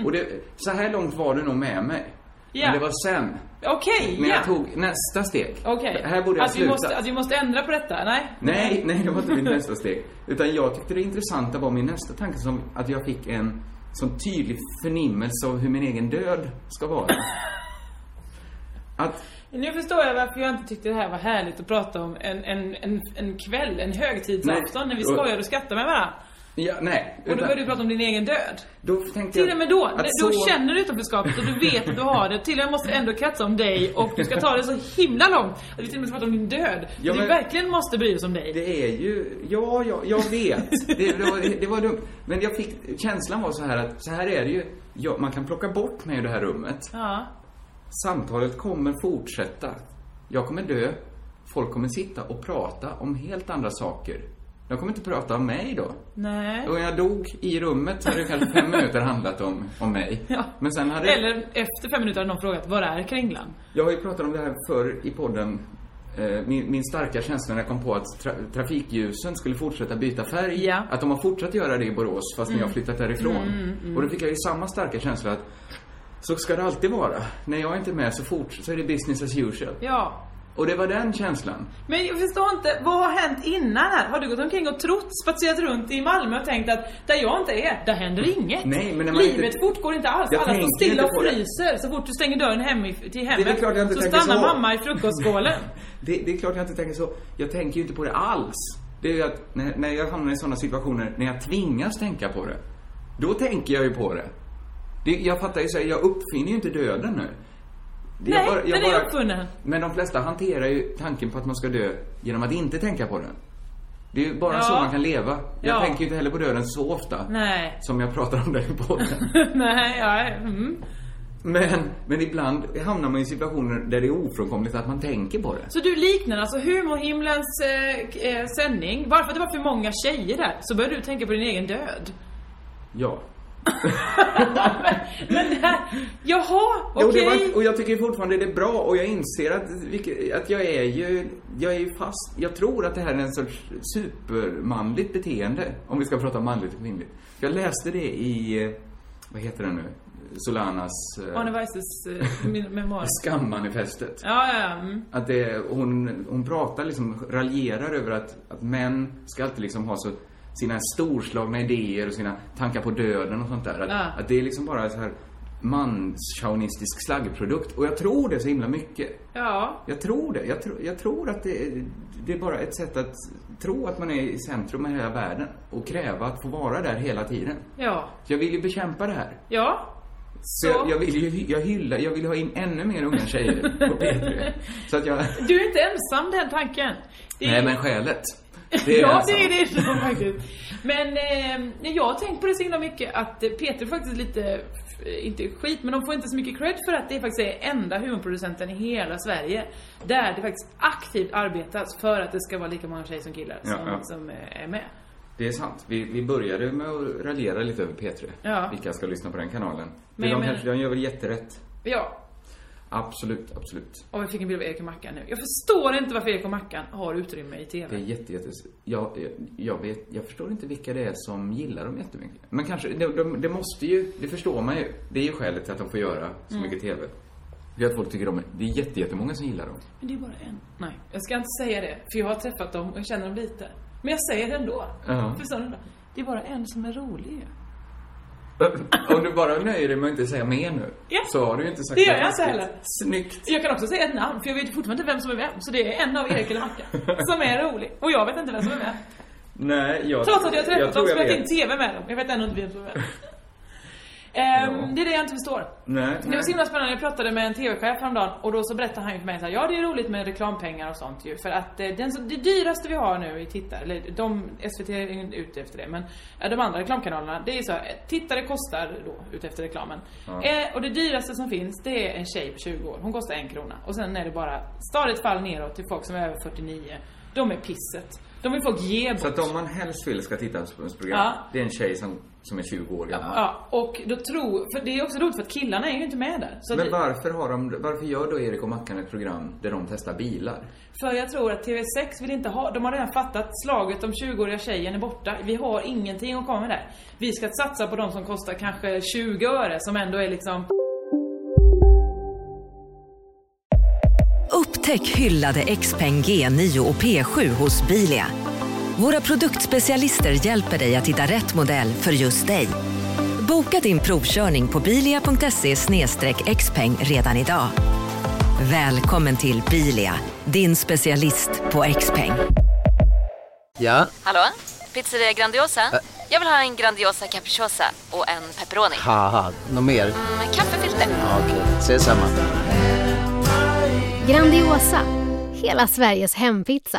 Och det, så här långt var du nog med mig. Mm. Ja. Men det var sen. Okej, Men ja. jag tog nästa steg. Okej. Här borde jag att, vi sluta. måste, att vi måste ändra på detta? Nej? Nej, nej, det var inte mitt nästa steg. Utan jag tyckte det intressanta var min nästa tanke som att jag fick en sån tydlig förnimmelse av hur min egen död ska vara. Att, Nu förstår jag varför jag inte tyckte det här var härligt att prata om en, en, en, en kväll, en högtidsafton Nej. när vi Och- skojar och skrattar med varandra. ja, nej. Och då utan- började du prata om din egen död. då tänkte jag Till och med då, att då så- känner du utanförskapet och du vet att du har det. Till och med måste det ändå kretsa om dig och du ska ta det så himla långt att vi till och med ska prata om din död. Ja, att vi men- verkligen måste bry oss om dig. Det är ju, ja, ja jag vet. Det, det, var, det var dumt. Men jag fick, känslan var så här att så här är det ju. Ja, man kan plocka bort mig ur det här rummet. Ja. Samtalet kommer fortsätta. Jag kommer dö. Folk kommer sitta och prata om helt andra saker. De kommer inte prata om mig då. Nej. Och jag dog i rummet så hade det kanske fem minuter handlat om, om mig. Ja. Men sen hade Eller efter fem minuter hade någon frågat, var är Kringlan? jag har ju pratat om det här förr i podden. Eh, Min, min starka känsla när jag kom på att tra, trafikljusen skulle fortsätta byta färg. Ja. Mm. Att de har fortsatt göra det i Borås fast när jag flyttat därifrån. Och då fick jag ju samma starka känsla att så ska det alltid vara. När jag inte är med så, fort, så är det business as usual. Ja. Och det var den känslan. Men jag förstår inte, vad har hänt innan här? Har du gått omkring och trott, spatserat runt i Malmö och tänkt att där jag inte är, där händer inget? Mm. Nej, men när man Livet inte- fortgår inte alls, Jag alla tänker står stilla inte på och det. fryser så fort du stänger dörren hem i, till hemmet. Det är klart jag inte så tänker stannar så. mamma i frukostskålen. Det, det är klart jag inte tänker så. Jag tänker ju inte på det alls. Det är ju att när, när jag hamnar i sådana situationer, när jag tvingas tänka på det, då tänker jag ju på det. det jag fattar ju så här, jag uppfinner ju inte döden nu. Det- Nej, den är uppfunnen. Men de flesta hanterar ju tanken på att man ska dö genom att inte tänka på den. Det är ju bara Ja. så man kan leva. Jag Ja. tänker ju inte heller på döden så ofta. Nej. Som jag pratar om det i podden. Nej, ja, mm. men, men ibland hamnar man i situationer där det är ofrånkomligt att man tänker på det. Så du liknar alltså humorhimlens eh, k- eh, sändning, bara för att det var för många tjejer där så började du tänka på din egen död. Ja. Men det här, jaha, okej. Jo, det var, och jag tycker fortfarande det är bra och jag inser att, vilket- att jag är ju, jag är ju fast, jag tror att det här är en sorts supermanligt beteende. Om vi ska prata om manligt och kvinnligt. För Jag läste det i, eh, vad heter den nu? Solanas... eh, Arne Weises eh, min- memoarer. Skammanifestet. Ja, ja, ja. Mm. Att det, hon, hon pratar liksom, raljerar över att, att män ska alltid liksom ha så, sina storslagna idéer och sina tankar på döden och sånt där. Att, Ja. att det är liksom bara så här manschaunistisk slaggprodukt. Och jag tror det så himla mycket. ja. Jag tror det. Jag, tro, jag tror att det, är- det är bara ett sätt att tro att man är i centrum i hela världen och kräva att få vara där hela tiden. Ja. Jag vill ju bekämpa det här. Ja. Så Så. jag, jag vill ju hy- jag hylla, jag vill ha in ännu mer unga tjejer på P3. Så att jag... Du är inte ensam den tanken. Det är- Nej, men skälet. ja, alltså- det är det nog faktiskt. Men eh, jag har tänkt på det så himla mycket att eh, Peter faktiskt lite, eh, inte skit, men de får inte så mycket cred för att det faktiskt är enda humorproducenten i hela Sverige där det faktiskt aktivt arbetas för att det ska vara lika många tjejer som killar Ja, som, ja. som eh, är med. Det är sant. Vi, vi började med att raljera lite över P3. Ja. Vilka ska lyssna på den kanalen. Men Men de, jag kanske, menar- de gör väl jätterätt. Ja, Absolut, absolut. och jag fick en bild av Erik och Mackan nu. Jag förstår inte varför Erik och Mackan har utrymme i TV. Det är jätte, jätte... Jag, jag, jag, vet, jag förstår inte vilka det är som gillar dem jättemycket. Men kanske, det de, det måste ju, det förstår man ju. Det är ju skälet till att de får göra så Mm. mycket TV. Det är att folk tycker om det. Det är jätte, jättemånga som gillar dem. Men det är bara en. Nej, jag ska inte säga det, för jag har träffat dem och jag känner dem lite. Men jag säger det ändå. Ja. Förstår ni då? Det är bara en som är rolig ju. Om du bara nöjer dig med att inte säga mer nu. Ja. Så har du ju inte sagt Det gör jag inte riktigt. heller. Snyggt. Jag kan också säga ett namn, för jag vet fortfarande inte vem som är vem. Så det är en av Erik eller Mackan som är rolig. Och jag vet inte vem som är vem. Nej, jag... Trots att jag har träffat tror dem och jag spelat vet. in TV med dem. Jag vet ändå inte vem som är vem. Ehm, Ja. Det är det jag inte förstår. Nej, Det var nej. så himla spännande, jag pratade med en TV-chef häromdagen och då så berättade han ju för mig så här, ja det är roligt med reklampengar och sånt ju för att eh, den, så- det dyraste vi har nu i tittar, eller de, SVT är ju inte ute efter det men eh, de andra reklamkanalerna, det är ju så här, eh, tittare kostar då ute efter reklamen. Eh, och det dyraste som finns det är en tjej på 20 år, hon kostar en krona och sen är det bara stadigt fall neråt till folk som är över 49. De är pisset. De vill folk ge bort. Så att om man helst vill ska titta på ett program, Ja. det är en tjej som, som är 20 år gammal. Ja, och då tror, för det är också roligt för att killarna är ju inte med där. Så att Men vi- varför, har de, varför gör då Erik och Mackan ett program där de testar bilar? För jag tror att TV6 vill inte ha, de har redan fattat slaget om 20-åriga tjejen är borta. Vi har ingenting att komma med där. Vi ska satsa på de som kostar kanske 20 öre som ändå är liksom Upptäck hyllade XPeng G9 och P7 hos Bilia. Våra produktspecialister hjälper dig att hitta rätt modell för just dig. Boka din provkörning på bilia.se xpeng redan idag. Välkommen till Bilia, din specialist på XPeng. Ja, Hallå? Pizzeria Grandiosa? Jag vill ha en Grandiosa capriciosa och en pepperoni. haha, något mer? Med kaffefilter. Ja, Okej, ses samma. Grandiosa, hela Sveriges hempizza.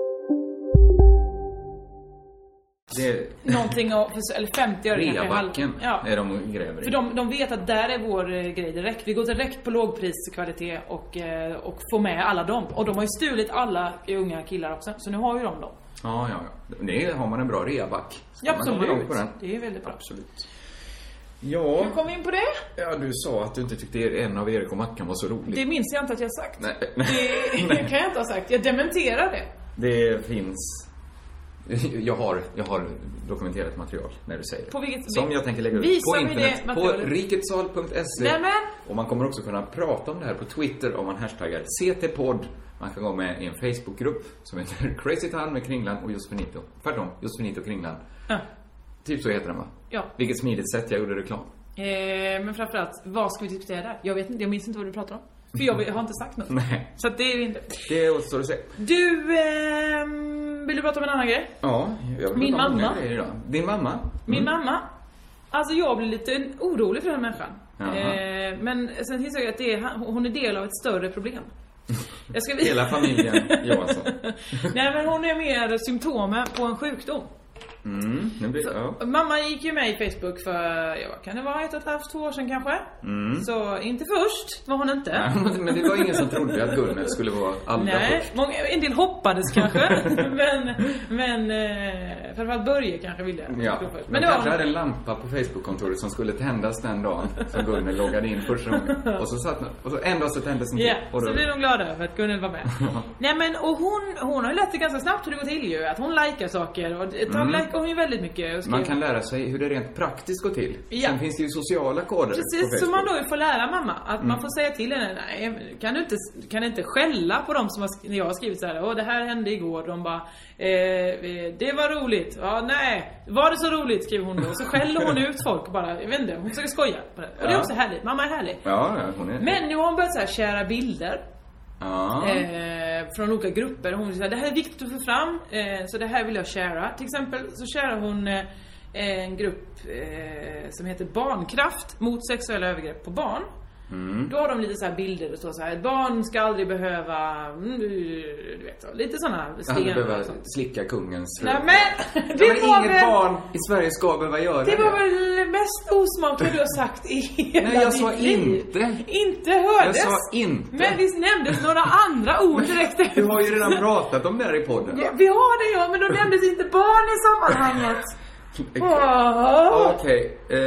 Det någonting av, eller 50 öre kanske. Reabacken Ja. är de gräver i. För de, de vet att där är vår eh, grej direkt. Vi går direkt på lågpriskvalitet och, eh, och får med alla dem. Och de har ju stulit alla unga killar också, så nu har ju de dem. Ja, ja, ja. Det har man en bra reaback. Ska Ja, man komma långt absolut. På den. Det är väldigt bra. Absolut. Ja, Hur kom vi in på det? ja, du sa att du inte tyckte er- en av Erik och Mackan var så rolig. Det minns jag inte att jag sagt. Nej. Det, Nej. det kan jag inte ha sagt. Jag dementerar det. Det finns... Jag har, jag har dokumenterat material när du säger det. På vilket- Som jag tänker lägga ut Visa på mig det internet. på materialet. riketsal.se. Nämen! Och man kommer också kunna prata om det här på Twitter om man hashtaggar CTpodd. Man kan gå med i en Facebookgrupp som heter Crazy Town med Kringlan och Josefinito. Tvärtom, Josefinito och Kringlan. Ja. Typ så heter den va? Ja. Vilket smidigt sätt jag gjorde reklam. Eh, men framförallt, vad ska vi diskutera där? Jag vet inte, jag minns inte vad du pratar om. För jag har inte sagt något. Nej. Så att det är ju inte. Det återstår att se. Du, ehm, vill du prata om en annan grej? Ja, jag vill Min prata om många mamma. grejer idag. Din mamma? Min Mm. mamma. Alltså jag blir lite orolig för den här människan. Jaha. Eh, men sen insåg jag att det är, hon är del av ett större problem. Jag ska, Hela familjen Johansson. Nej men hon är mer symptomen på en sjukdom. Mm, nu blir ja. Mamma gick ju med i Facebook för, ja vad kan det vara, ett och ett halvt, två år sedan kanske? Mm. Så inte först, var hon inte. Nej, men det var ingen som trodde att Gunnel skulle vara allra Nej, först. många, en del hoppades kanske. men, men eh, framförallt Börje kanske ville. Ja, först. men Men det kanske var hade en lampa på Facebook-kontoret som skulle tändas den dagen som Gunnel loggade in första gången. Och så satt man, och så en dag så tändes den Ja, till. och så blir de glada över att Gunnel var med. Nej men och hon, hon har ju lärt sig ganska snabbt hur det går till ju. Att hon likar saker och ett tag Mm. likar hon ju väldigt mycket. Och skriver- Man kan lära sig hur det rent praktiskt går till. Ja. Sen finns det ju sociala koder på Precis, som man Facebook. då får lära mamma. Att Mm. man får säga till henne, nej men kan du inte, kan du inte skälla på dem som har, sk- när jag har skrivit så här. Åh det här hände igår. De bara, eh, eh, det var roligt. Ja nej, var det så roligt? Skriver hon då. Och så skäller hon ut folk bara, jag vet inte, hon försöker skoja. På det. Och det är Ja. också härligt, mamma är härlig. Ja, ja, hon är... Men nu har hon börjat så här kära bilder. Ja. Eh, från olika grupper. Hon säger det här är viktigt att få fram, eh, så det här vill jag shara. Till exempel så sharar hon eh, en grupp eh, som heter Barnkraft mot sexuella övergrepp på barn. Mm. Då har de lite så här bilder, det står så här, ett barn ska aldrig behöva, mm, du vet, så, lite såna Jag hade stenar och behövt sånt. slicka kungens Nej röv. men! Ja, Det men var inget väl, barn i Sverige ska behöva göra det. det var väl mest osmakliga du har sagt i hela Nej, jag sa ditt liv. inte. Inte hördes! Jag sa inte. Men visst nämndes några andra ord direkt Du har ju redan pratat om det här i podden. Ja, vi har det ja, men då nämndes inte barn i sammanhanget. Åh. Okej, eh,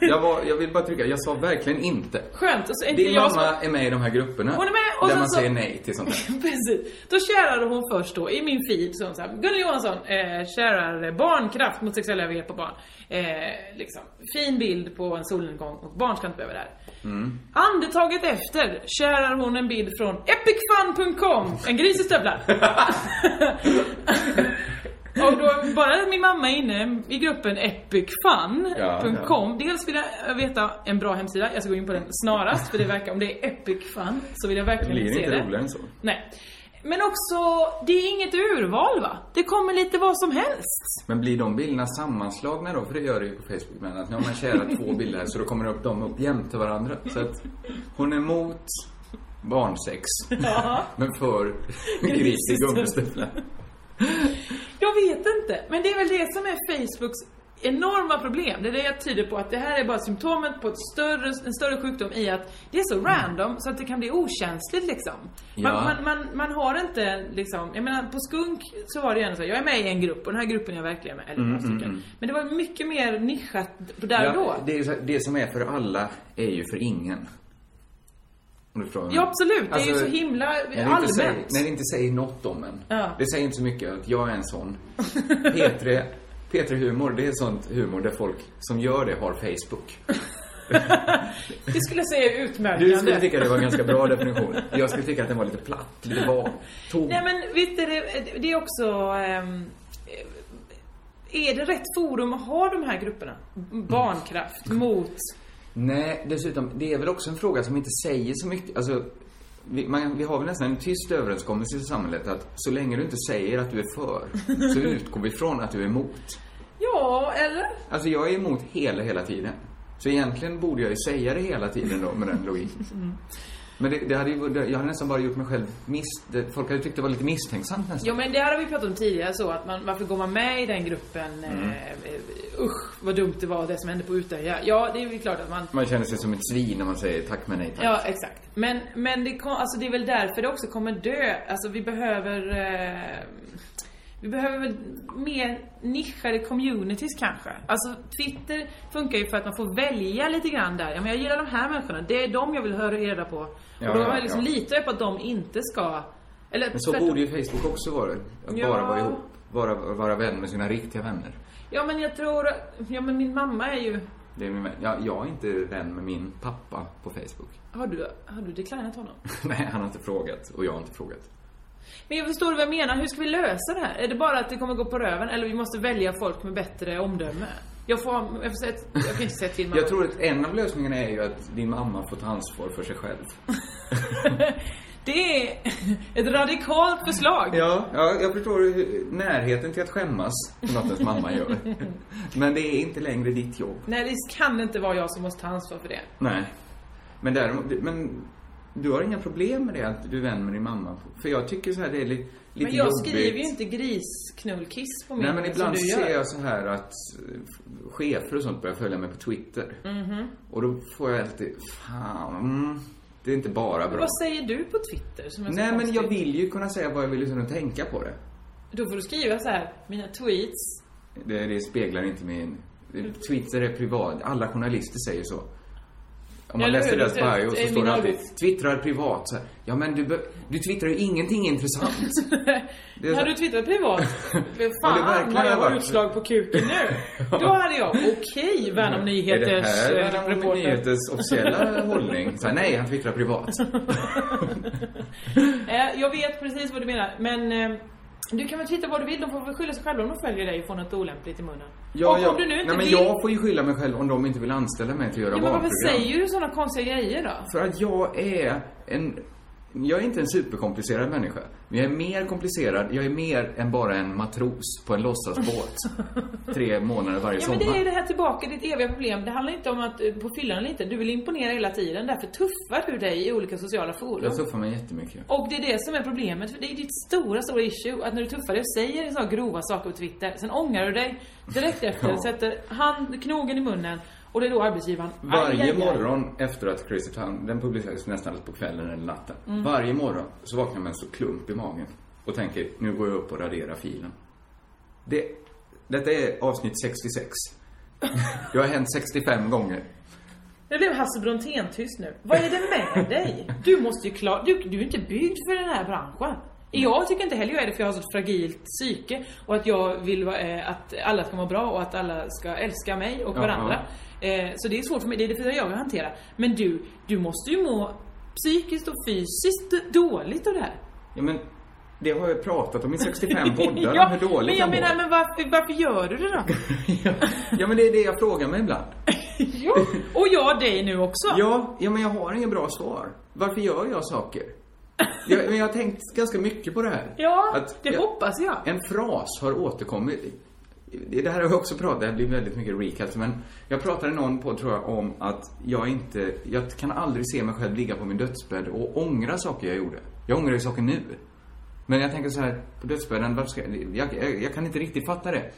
jag, var- jag vill bara trycka, jag sa verkligen inte. Skönt, och så är inte Din jag som... mamma är med i de här grupperna. Hon är med, och där sen man så- säger nej till sånt här. Precis. Då kärade hon först då, i min feed, så hon så här, Gunnel Johansson eh, kärar barnkraft mot sexuella övergrepp på barn. Eh, liksom, fin bild på en solnedgång och barn ska inte behöva det här. Mm. Andetaget efter kärar hon en bild från epicfun.com, en gris i stövlar. Och då, bara att min mamma är inne i gruppen epicfun.com Dels vill jag veta en bra hemsida, jag ska gå in på den snarast för det verkar, om det är epicfun så vill jag Det verkligen blir se inte det. roligare än så. Nej. Men också, det är inget urval va? Det kommer lite vad som helst. Men blir de bilderna sammanslagna då? För det gör det ju på Facebook. Men att nu har man kärat två bilder här så då kommer upp de upp jämte varandra. Så att hon är emot barnsex. Ja. Men för gris i gummistövlar. Jag vet inte. Men det är väl det som är Facebooks enorma problem. Det är det jag tyder på att det här är bara symptomet på ett större, en större sjukdom i att det är så Mm. random så att det kan bli okänsligt liksom. Man, Ja. man, man, man har inte liksom, jag menar på skunk så var det ju ändå så här, jag är med i en grupp och den här gruppen är jag verkligen med, eller några stycken. Men det var mycket mer nischat där och då. Mm, Ja, det, är så- det som är för alla är ju för ingen. Om du förstår vad jag Ja menar. absolut, det är ju Alltså, så himla när det inte allmänt. Säger, när det inte säger något om en. Ja. Det säger inte så mycket att jag är en sån. P3, P3 Humor, det är sånt humor där folk som gör det har Facebook. Det skulle jag säga är utmärkande. Du skulle tycka det var en ganska bra definition. Jag skulle tycka att den var lite platt, lite vag, tom. Nej men visst är det, det är också... ehm, är det rätt forum att ha de här grupperna? Barnkraft mot... Nej, dessutom, det är väl också en fråga som inte säger så mycket. Alltså, vi, man, vi har väl nästan en tyst överenskommelse i samhället att så länge du inte säger att du är för, så utgår vi från att du är emot. Ja, eller? Alltså, jag är emot hela, hela tiden. Så egentligen borde jag ju säga det hela tiden då, med den logiken. Mm. Men det, det hade ju, det, jag hade nästan bara gjort mig själv miss... Det, folk hade tyckt det var lite misstänksamt nästan. Jo men det här har vi pratat om tidigare så att man, varför går man med i den gruppen? Mm. Eh, eh, usch vad dumt det var det som hände på Utöya. Ja det är väl klart att man Man känner sig som ett svin när man säger tack men nej tack. Ja, exakt. Men, men det, kom, alltså det är väl därför det också kommer dö. Alltså vi behöver... Eh, vi behöver väl mer nischade communities kanske. Alltså Twitter funkar ju för att man får välja lite grann där. Ja, men jag gillar de här människorna. Det är de jag vill höra och reda på. Ja, och då ja, har jag liksom ja. litar jag på att de inte ska... Eller Men så tvärtom. borde ju Facebook också vara. Att Ja. bara vara ihop. Vara, vara vän med sina riktiga vänner. Ja men jag tror... Ja men min mamma är ju... Det är min, ja, jag är inte vän med min pappa på Facebook. Har du, har du declinat honom? Nej, han har inte frågat och jag har inte frågat. Men jag förstår vad jag menar. Hur ska vi lösa det här? Är det bara att det kommer gå på röven? Eller vi måste välja folk med bättre omdöme? Jag får, jag får säga, jag kan inte säga till mamma. Jag tror att en av lösningarna är ju att din mamma får ta ansvar för sig själv. Det är ett radikalt förslag. Ja, ja jag förstår hur- närheten till att skämmas för något ens mamma gör. Men det är inte längre ditt jobb. Nej, det kan inte vara jag som måste ta ansvar för det. Nej. Men däremot, men Du har inga problem med det att du är vän med din mamma? För jag tycker så här, det är li, lite Men jag jobbigt. skriver ju inte grisknullkiss på min Nej men som ibland du ser gör. jag så här att eh, chefer och sånt börjar följa mig på Twitter. Mhm. Och då får jag alltid, fan, mm, det är inte bara Men bra. vad säger du på Twitter som är så Nej men konstigt? jag vill ju kunna säga vad jag vill utan att tänka på det. Då får du skriva så här, mina tweets. Det, det speglar inte min... Mm. Twitter är privat. Alla journalister säger så. Om man Eller läser hur? deras bio Det så är står min det alltid arbets- twittrar privat. Så här, ja men du, be- du twittrar ju ingenting intressant. Det är så- Hade du twittrat privat? Men det verkligen Fan vad jag hade har varit- utslag på kuken nu. Då hade jag, okej Värnamo Är det Nyheters här eh, Värnamo reporter. Nyheters officiella hållning? Så här, nej, han twittrar privat. Eh, Jag vet precis vad du menar, men eh, du kan väl twittra vad du vill, de får väl skylla sig själva om de följer dig från något olämpligt i munnen. och om du nu inte nej, men vill... jag får ju skylla mig själv om de inte vill anställa mig till att göra ja, men varför barnprogram. säger du sådana konstiga grejer då? För att jag är en... Jag är inte en superkomplicerad människa. Men jag är mer komplicerad. Jag är mer än bara en matros på en låtsasbåt. Tre månader varje Ja men sommar. det är det här tillbaka, ditt eviga problem. Det handlar inte om att eh, på fyllan eller inte, du vill imponera hela tiden. Därför tuffar du dig i olika sociala forum. Jag tuffar mig jättemycket. Och det är det som är problemet, för det är ditt stora, stora issue. Att när du tuffar dig och säger så här grova saker på Twitter, sen ångrar du dig direkt efter, Ja. sätter hand, knogen i munnen och det är då arbetsgivaren Aj, Varje aj, aj. morgon efter att Crazy Town, den publicerades nästan alltid på kvällen eller natten. Mm. Varje morgon så vaknar jag med en stor klump i magen och tänker, nu går jag upp och raderar filen. Det, detta är avsnitt 66. Det har hänt 65 gånger. Det blev Hasse Brontén tyst nu. Vad är det med dig? Du måste ju klara... Du, du är inte byggd för den här branschen. Jag tycker inte heller jag är det för jag har så ett fragilt psyke och att jag vill vara, eh, att alla ska må bra och att alla ska älska mig och Ja, varandra. Eh, Så det är svårt för mig, det är det för jag att hantera. Men du, du måste ju må psykiskt och fysiskt dåligt av det här. Ja, men det har jag pratat om i 65 poddar, Ja, om hur dåligt men jag menar, men varför, varför gör du det då? mår. Ja, men det är det jag frågar mig ibland. Och jag dig nu också. Ja, ja, men jag har inget bra svar. Varför gör jag saker? Jag, men jag har tänkt ganska mycket på det här. Ja, det jag- hoppas jag. En fras har återkommit. Det här har jag också pratat, det här blir väldigt mycket recaps, men jag pratade någon på, tror jag, om att jag inte, jag kan aldrig se mig själv ligga på min dödsbädd och ångra saker jag gjorde. Jag ångrar ju saker nu. Men jag tänker så här, på dödsbädden, varför ska jag, jag, jag, jag kan inte riktigt fatta det.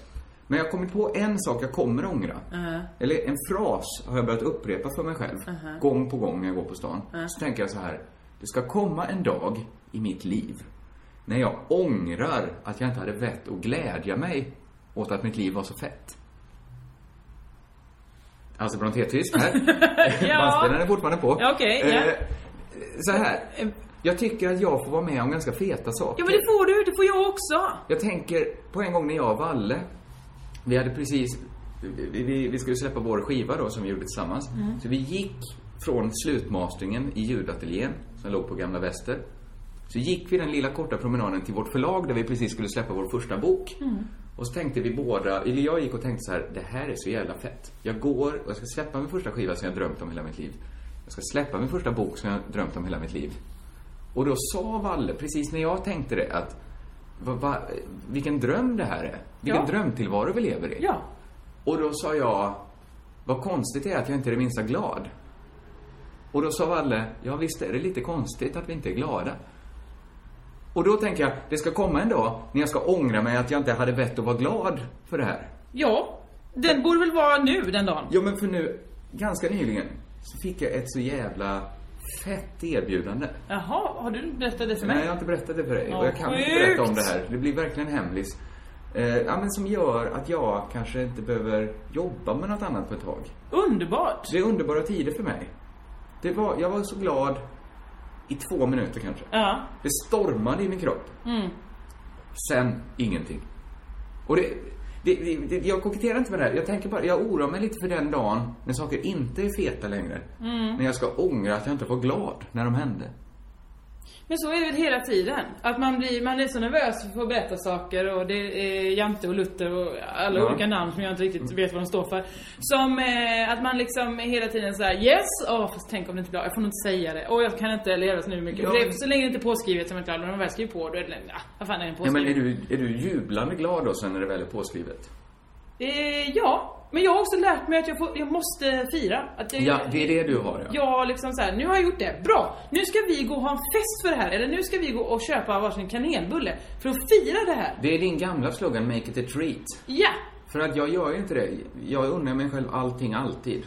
Men jag har kommit på en sak jag kommer ångra. Uh-huh. Eller en fras har jag börjat upprepa för mig själv. Mhm. Gång på gång när jag går på stan. Mhm. Så tänker jag så här. Det ska komma en dag i mitt liv när jag ångrar att jag inte hade vett att glädja mig åt att mitt liv var så fett. Alltså Brontén-tysk här. Ja. Bandspelaren är fortfarande på. Ja, okej, ja. Eh, Eh, Så här. Jag tycker att jag får vara med om ganska feta saker. Ja men det får du, det får jag också. Jag tänker på en gång när jag och Valle, vi hade precis, vi, vi, vi skulle släppa vår skiva då som vi gjorde tillsammans. Mm. Så vi gick från slutmasteringen i ljudateljén, som låg på Gamla Väster. Så gick vi den lilla korta promenaden till vårt förlag där vi precis skulle släppa vår första bok. Och så tänkte vi båda, eller jag gick och tänkte så här, det här är så jävla fett. Jag går och jag ska släppa min första skiva som jag drömt om hela mitt liv. Jag ska släppa min första bok som jag drömt om hela mitt liv. Och då sa Valle, precis när jag tänkte det, att va, va, vilken dröm det här är. Vilken Ja. drömtillvaro vi lever i. Ja. Och då sa jag, vad konstigt det är att jag inte är det minsta glad. Och då sa Valle, ja visst är det lite konstigt att vi inte är glada. Och då tänker jag, det ska komma en dag när jag ska ångra mig att jag inte hade vett att vara glad för det här. Ja, den borde väl vara nu den dagen? Ja, men för nu, ganska nyligen, så fick jag ett så jävla fett erbjudande. Jaha, har du berättat det för mig? Nej, jag har inte berättat det för dig. Åh, och jag kan inte sjukt. berätta om det här. Det blir verkligen hemlis. Eh, ja, men som gör att jag kanske inte behöver jobba med något annat på ett tag. Underbart! Det är underbara tider för mig. Det var, jag var så glad i två minuter kanske. Ja. Det stormade i min kropp. Mm. Sen ingenting. Och det, det, det, det, jag koketterar inte med det här. Jag tänker bara, jag oroar mig lite för den dagen när saker inte är feta längre. Mm. När jag ska ångra att jag inte var glad när de hände. Men så är det väl hela tiden? Att man blir, man är så nervös för att berätta saker och det är Jante och Luther och alla Ja. olika namn som jag inte Mm. riktigt vet vad de står för. Som eh, att man liksom hela tiden såhär yes, åh fast tänk om det inte blir av. jag får nog inte säga det. Och jag kan inte leva så nu mycket. Ja, För det är men- så länge det inte är påskrivet som jag är glad. Men om man väl skriver på då är det, ah, vad fan är det Nej, men påskrivet? är du, är du jublande glad då sen när det väl är påskrivet? Eh, ja, Men jag har också lärt mig att jag, får, jag måste fira. Att jag, Ja, det är det du har ja. Jag liksom så här, nu har jag gjort det. Bra! Nu ska vi gå och ha en fest för det här. Eller nu ska vi gå och köpa varsin kanelbulle. För att fira det här. Det är din gamla slogan, make it a treat. Ja! För att jag gör ju inte det. Jag unnar mig själv allting alltid.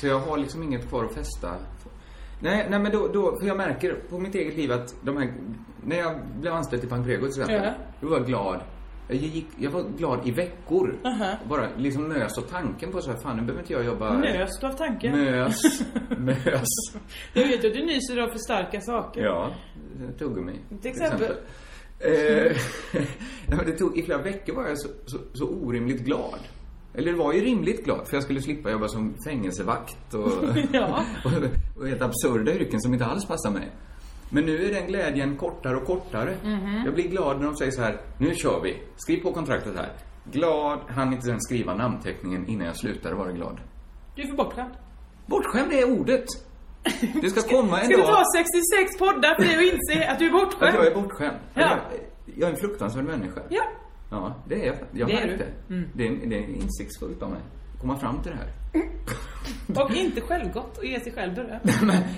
Så jag har liksom inget kvar att festa. Nej, nej men då, då, för jag märker på mitt eget liv att de här, när jag blev anställd till Pankrego till exempel, Ja. då var jag glad. Jag, gick, jag var glad i veckor. Aha. Bara liksom mös av tanken på så här, fan nu behöver inte jag jobba. Nös du av tanken? Mös. Mös. Jag vet ju att du nyser av för starka saker. Ja, tuggummi. Till exempel. Eh, nej, men det tog, I flera veckor var jag så, så, så orimligt glad. Eller det var ju rimligt glad, för jag skulle slippa jobba som fängelsevakt och, Ja. och, och helt absurda yrken som inte alls passar mig. Men nu är den glädjen kortare och kortare. Mhm. Jag blir glad när de säger så här, nu kör vi, skriv på kontraktet här. Glad, hann inte ens skriva namnteckningen innan jag slutade vara glad. Du är för bortskämd. Bortskämd är ordet! Du ska komma en Ska vi dag... ta 66 poddar för dig och inse att du är bortskämd? Att jag är bortskämd. Ja. Jag, jag är en fruktansvärd människa. Ja. Ja, det är jag. Jag Det är har märkt du. det. Mm. Det, är, det är insiktsfullt av mig. att Komma fram till det här. Och inte självgott och ge sig själv beröm.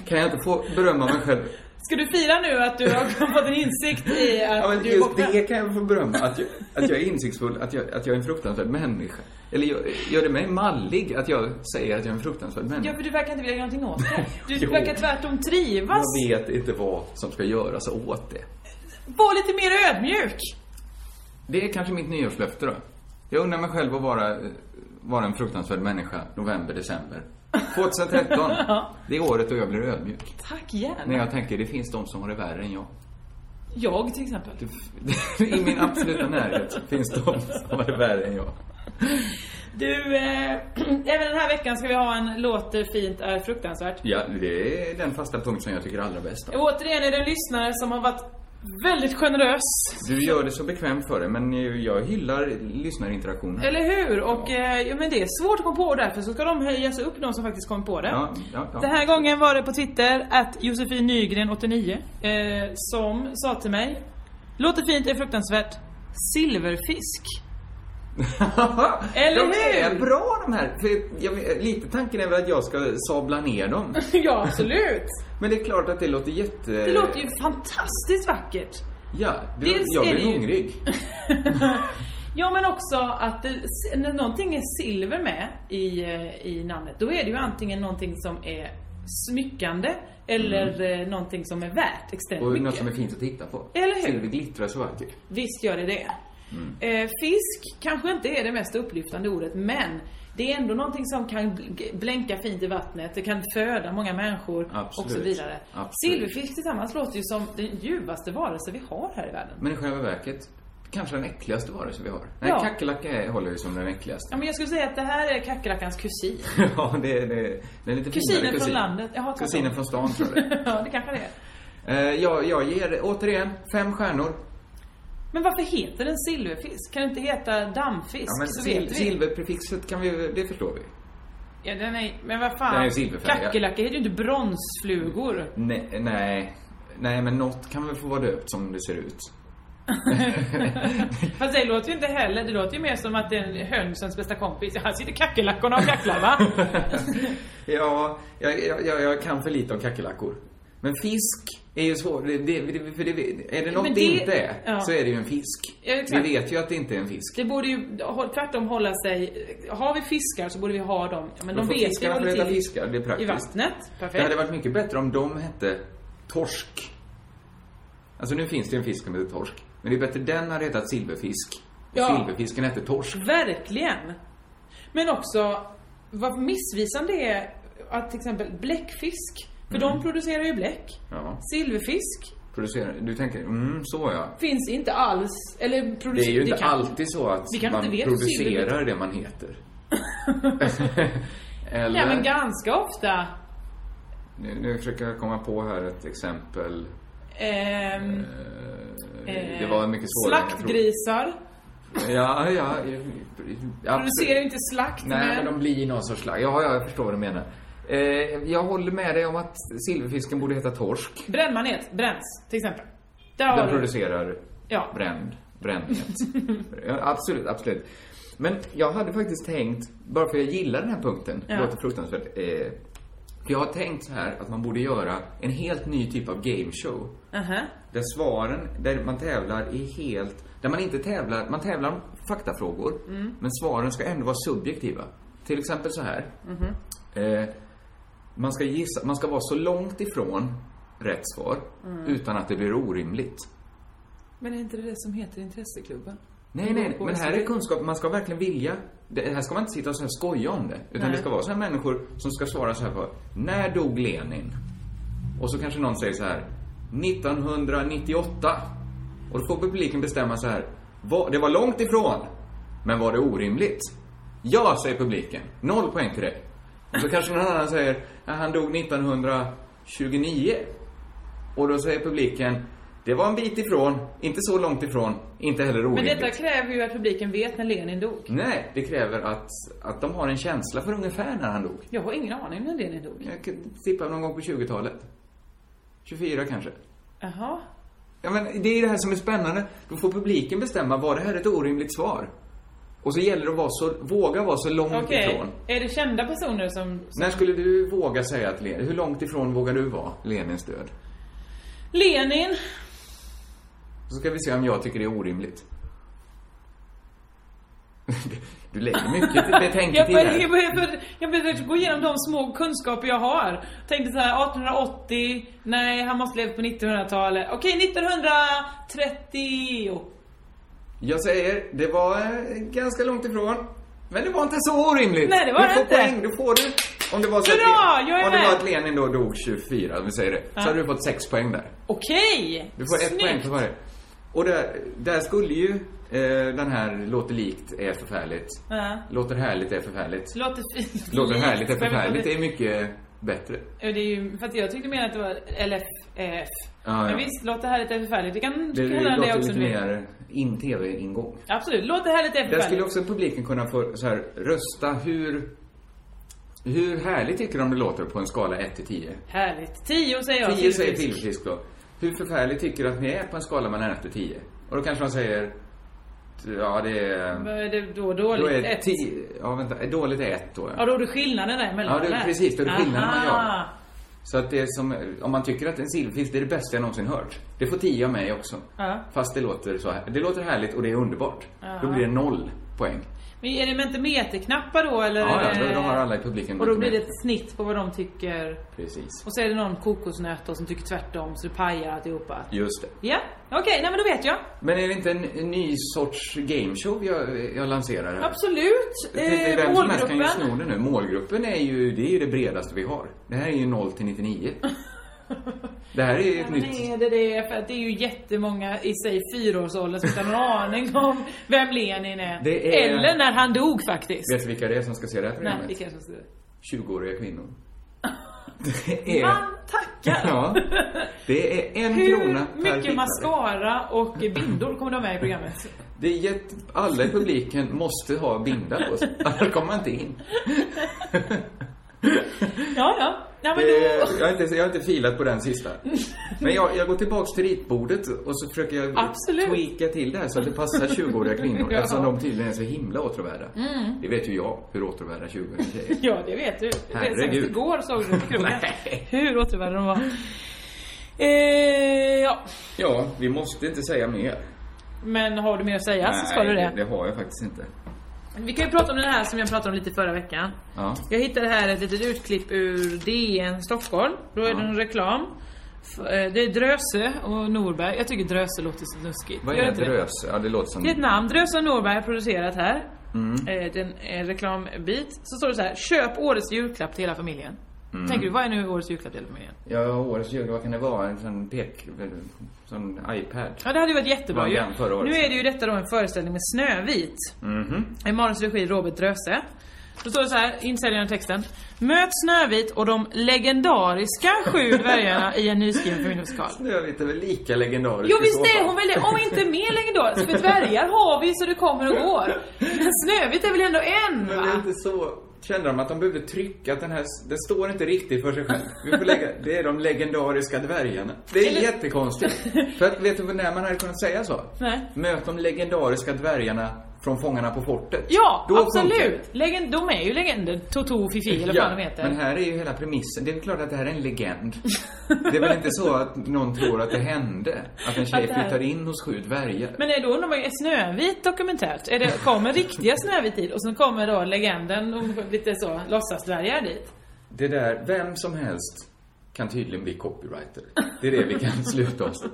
Kan jag inte få berömma mig själv? Ska du fira nu att du har fått en insikt i att Ja, men du är just bortskämd? det kan jag få berömma. Att jag, att jag är insiktsfull, att jag, att jag är en fruktansvärd människa. Eller gör, gör det mig mallig att jag säger att jag är en fruktansvärd Ja, människa? för du verkar inte vilja göra någonting åt det. Du Jo. verkar tvärtom trivas. Jag vet inte vad som ska göras åt det. Var lite mer ödmjuk. Det är kanske mitt nyårslöfte då. Jag undrar mig själv att vara, eh, vara en fruktansvärd människa november, december. 2013. Det är året då jag blir ödmjuk. Tack gärna. När jag tänker, det finns de som har det värre än jag. Jag till exempel. I min absoluta närhet finns de som har det värre än jag. Du, eh, även den här veckan ska vi ha en låter fint är fruktansvärt. Ja, det är den fasta punkt som jag tycker är allra bäst om. Återigen är det en lyssnare som har varit väldigt generös. Du gör det så bekvämt för dig, men jag hyllar lyssnarinteraktionen. Eller hur? Och eh, ja, men det är svårt att komma på och därför så ska de höjas upp, de som faktiskt kom på det. Ja, ja, ja. Den här gången var det på Twitter, att Josefin Nygren 89 eh, som sa till mig Låter fint, är fruktansvärt. Silverfisk. Eller De är hur? bra de här. För jag, lite tanken är väl att jag ska sabla ner dem. ja, absolut. Men det är klart att det låter jätte... Det låter ju fantastiskt vackert. Ja, det, Dels jag är blir det ju- hungrig. Ja men också att det, när någonting är silver med i, eh, i namnet, då är det ju antingen någonting som är smyckande eller eh, någonting som är värt extremt Mm. Och något mycket. som är fint att titta på. Eller hur? Typ. Silver glittrar så vackert. Visst gör det det. Mm. Eh, fisk kanske inte är det mest upplyftande ordet, men det är ändå någonting som kan bl- blänka fint i vattnet, det kan föda många människor och så Absolut. vidare. Absolut. Silverfisk tillsammans låter ju som den ljuvaste varelse vi har här i världen. Men i själva verket, kanske den äckligaste varelse vi har. Nej, Ja. kackerlacka är- håller ju som den äckligaste. Ja, men jag skulle säga att det här är kackerlackans kusin. ja, det är, det är, det är lite Kusinen finare från kusin. landet. Jaha, tvärtom. Kusinen från stan, tror jag. ja, det kanske det är. Eh, jag, jag ger, återigen, fem stjärnor. Men varför heter den silverfisk? Kan det inte heta dammfisk? Ja, men så sil- vet vi. silverprefixet kan vi, det förstår vi. Ja, den är, men vad fan? Den är ju silverfärgad. Kackerlackor heter ju inte bronsflugor. Nej, nej, nej, men något kan väl få vara döpt som det ser ut. Fast det låter ju inte heller, det låter ju mer som att det är hönsens bästa kompis. Här sitter kackerlackorna och kacklar va? Ja, jag, jag, jag, jag kan för lite om kackerlackor. Men fisk är ju svår. Det, det, det, för det, är det något men det, det- inte är, ja. så är det ju en fisk. Ja, exakt. vi vet ju att det inte är en fisk. Det borde ju hå- tvärtom hålla sig... Har vi fiskar så borde vi ha dem. Ja, Men Då de får vet ju fiskarna vad få det äta till fiskar, det är i praktiskt. vattnet. Det hade Perfekt. varit mycket bättre om de hette torsk. Alltså nu finns det ju en fisk som heter torsk. Men det är bättre den hade hetat silverfisk. Ja. Silverfisken hette torsk. Verkligen. Men också vad missvisande det är att till exempel bläckfisk, för Mm. de producerar ju bläck. Ja. Silverfisk Producerar. Du tänker, mm, så ja. finns inte alls, eller producerar... Det är ju inte alltid så att vi kan man inte veta producerar silver- det man heter. Eller? Ja men ganska ofta. Nu, nu försöker jag komma på här ett exempel. Eh, Ehm, Det eh, var mycket svårare än jag trodde. Slaktgrisar. Ja, ja. ja, Producerar absolut. ju inte slakt Nej, men de blir någon sorts slag. Ja, ja, jag förstår vad du menar. Eh, jag håller med dig om att silverfisken borde heta torsk. Brännmanet, bränns till exempel. Där har Den du. producerar Ja. bränd, brändhet. ja, absolut, absolut. Men jag hade faktiskt tänkt, bara för jag gillar den här punkten, Ja. det låter fruktansvärt. Eh, för jag har tänkt så här att man borde göra en helt ny typ av game show. Aha. Där svaren, där man tävlar i helt... Där man inte tävlar, man tävlar om faktafrågor. Mm. Men svaren ska ändå vara subjektiva. Till exempel så här. Mhm. Eh, man ska gissa, man ska vara så långt ifrån rätt svar Mm. utan att det blir orimligt. Men är inte det det som heter intresseklubben? Nej, nej, men här är kunskap. Man ska verkligen vilja. Det här ska man inte sitta och så här skoja om det. Utan Nej. det ska vara så här människor som ska svara så här på När dog Lenin? Och så kanske någon säger så här 1998. Och då får publiken bestämma så här "Va- Det var långt ifrån. Men var det orimligt? Ja, säger publiken. Noll poäng till dig. Och så kanske någon annan säger "Ja, Han dog 1929. Och då säger publiken det var en bit ifrån, inte så långt ifrån, inte heller Men orimligt. detta kräver ju att publiken vet när Lenin dog. Nej, det kräver att, att de har en känsla för ungefär när han dog. Jag har ingen aning när Lenin dog. Jag kan tippa någon gång på 20-talet. 24 kanske. Jaha. Ja, men det är det här som är spännande. Då får publiken bestämma, var det här ett orimligt svar? Och så gäller det att vara så, våga vara så långt Okej. ifrån. Är det kända personer som... som... När skulle du våga säga att Lenin, hur långt ifrån vågar du vara Lenins död? Lenin! Så ska vi se om jag tycker det är orimligt. Du lägger mycket jag, betänketid började, här. jag, började, jag började gå igenom de små kunskaper jag har. Tänkte så här, 1880, nej han måste leva på 1900-talet. Okej, 1930. Jag säger, det var eh, ganska långt ifrån. Men det var inte så orimligt. Nej, det var du det får inte. Poäng, då får du. Om det var så Hurra, att, jag är om det var med. att Lenin då dog 24, om vi säger det. Ja. Så hade du fått 6 poäng där. Okej! Du får ett poäng Snyggt! för varje. Och där, där skulle ju eh, den här låter likt är förfärligt. Ja. Låter härligt är förfärligt. Låter fint. Låter härligt Jag vet är inte om förfärligt. Det är mycket bättre. Ja, Det är ju, för att jag tyckte mer att det var LFF. Ja, Men ja. visst, låt det här lite förfärligt. Det kan Det, du det kalla det låter också lite nu. mer in tv-ingång. Absolut, låt det här lite Där skulle förfärligt. också publiken kunna få så här, rösta hur, hur härligt tycker de det låter på en skala 1 till 10? Härligt. 10 säger jag. 10 säger tillfrisk då. Hur förfärligt tycker du att ni är på en skala mellan 1 och 10? Och då kanske de säger, ja det är... Vad är det då Då dåligt? är Ett. 10, ja vänta, dåligt är 1 då. Ja, då är det skillnaden däremellan. Ja, det är eller? precis, då är det skillnaden man gör. Aha. Så att det är som, om man tycker att en silverfisk det är det bästa jag någonsin hört. Det får 10 av mig också. Ja. Fast det låter så här, det låter härligt och det är underbart. Ja. Då blir det noll poäng. Men är det mentimeterknappar då eller? Ja, är ja, det- då, då har alla i publiken Och då lite blir det mer. ett snitt på vad de tycker. Precis. Och så är det någon kokosnöt då som tycker tvärtom så det pajar alltihopa. Just det. Ja, okej, nej men då vet jag. Men är det inte en en ny sorts gameshow jag, jag lanserar här? Absolut. Precis, Eh, Vem som helst kan ju målgruppen. sno det nu. Målgruppen är ju, det är ju det bredaste vi har. Det här är ju 0 till 99. Det här är ju Ja, ett men nytt... är det det? För att det är ju jättemånga i sig fyraårsåldern som inte har någon aning om vem Lenin är. Det är- Eller när han dog faktiskt. Vet du vilka det är som ska se det här Nej, programmet? det kanske jag ska säga. 20-åriga kvinnor. Det är... Man tackar! Ja. Det är en krona Hur per mycket tittare. mascara och bindor kommer de ha med i programmet? Det är jätte... Alla i publiken måste ha binda på sig. Annars kommer man inte in. Ja, ja. Nej, men Det, då... Eh, jag, har inte, jag har inte filat på den sista. Men jag, jag går tillbaks till ritbordet och så försöker jag Absolut. tweaka till det här så att det passar 20-åriga kvinnor. Ja. Eftersom de tydligen är så himla åtråvärda. Mm. Det vet ju jag, hur åtråvärda 20-åriga tjejer är. Ja, det vet du. Det vet Herregud. Senast igår såg du på krogen hur återvärda de var. Eh, ja. Ja, vi måste inte säga mer. Men har du mer att säga så ska du det. det har jag faktiskt inte. Vi kan ju prata om den här som jag pratade om lite förra veckan. Ja. Jag hittade här ett litet utklipp ur DN Stockholm. Då är det en reklam. F- eh, Det är Dröse och Norberg. Jag tycker Dröse låter så snuskigt. Vad Gör är inte drös? Ja, det låter som... Det är ett namn. Dröse och Norberg har producerat här. Mm. Eh, Det är en eh, reklambit. Så står det så här. Köp årets julklapp till hela familjen. Mm. Tänker du, vad är nu årets julklapp till hela familjen? Ja, årets jul, vad kan det vara? En sån pek... en Sån iPad? Ja, det hade ju varit jättebra Vann ju. den förra året. Nu är det ju detta då en föreställning med Snövit. Mhm. I Marens regi Robert Dröse. Då står det så här, insäljaren av texten. Möt Snövit och de legendariska sju dvärgarna i en nyskriven familjemusikal. Snövit är väl lika legendarisk Jo i visst så är fall. hon väl det, om inte mer legendarisk. För dvärgar har vi så det kommer och går. Men Snövit är väl ändå en Men det är va? inte så... Kände de att de behövde trycka att den här... Det står inte riktigt för sig själv. Vi får lägga... Det är de legendariska dvärgarna. Det är jättekonstigt. För att, vet du när man hade kunnat säga så? Nej. Möt de legendariska dvärgarna från Fångarna på fortet. Ja, Då funkar det. absolut! Legend, de är ju legender. Toto, Fifi eller vad fan de heter. men här är ju hela premissen. Det är klart att det här är en legend. Det är väl inte så att någon tror att det hände? Att en tjej Att det här- flyttar in hos sju dvärgar? Men är då undrar man ju, är Snövit dokumentärt? Är det, kommer riktiga Snövit dit och sen kommer då legenden och lite så låtsasdvärgar dit? Det där, vem som helst kan tydligen bli copywriter. Det är det vi kan sluta oss till.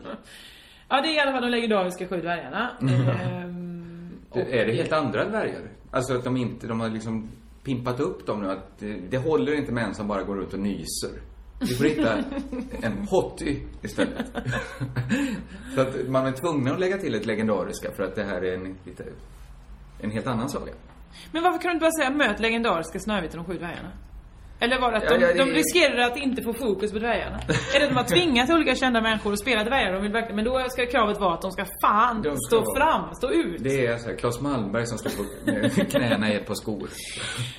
Ja, det är i alla fall de legendariska sju dvärgarna. Mm. Ehm, och- Det, är det helt andra dvärgar? Alltså att de inte, de har liksom pimpat upp dem nu. Att det, det håller inte med en som bara går ut och nyser. Vi får hitta en hotty istället. Så att man är tvungen att lägga till ett legendariska för att det här är en, lite, en helt annan saga. Men varför kan du inte bara säga möt legendariska Snövit och de sju dvärgarna? Eller var det att Ja, de, ja, det- de riskerar att inte få fokus på dvärgarna? Är det att de har tvingat olika kända människor att spela dvärgar? De vill verkligen, men då ska kravet vara att de ska fan De ska stå vara- fram, stå ut. Det är så här, Claes Malmberg som står på med knäna i ett par skor.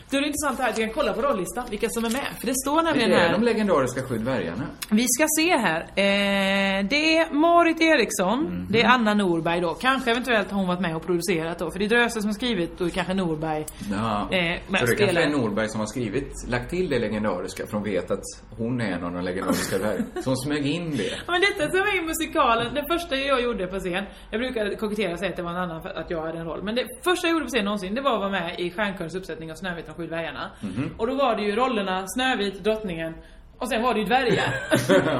Då är det intressant det här att vi kan kolla på rollistan, vilka som är med. För det står Det nämligen är här... de legendariska sju dvärgarna. Vi ska se här. Eh, det är Marit Eriksson, det är Anna Norberg då. Kanske eventuellt har hon varit med och producerat då. För det är Dröse som har skrivit och kanske Norberg. Ja. Eh, men så det kanske spelar- är Norberg som har skrivit, lagt till det legendariska för hon vet att hon är en av de legendariska dvärgarna. Så hon smög in det. Ja, men detta som är ju musikalen, det första jag gjorde på scen. Jag brukade kokettera och säga att det var en annan, för att jag hade en roll. Men det första jag gjorde på scen någonsin, det var att vara med i Stjärnkörens uppsättning av Snövit och de sju dvärgarna. Mhm. Och då var det ju rollerna Snövit, Drottningen och sen var det ju dvärgar.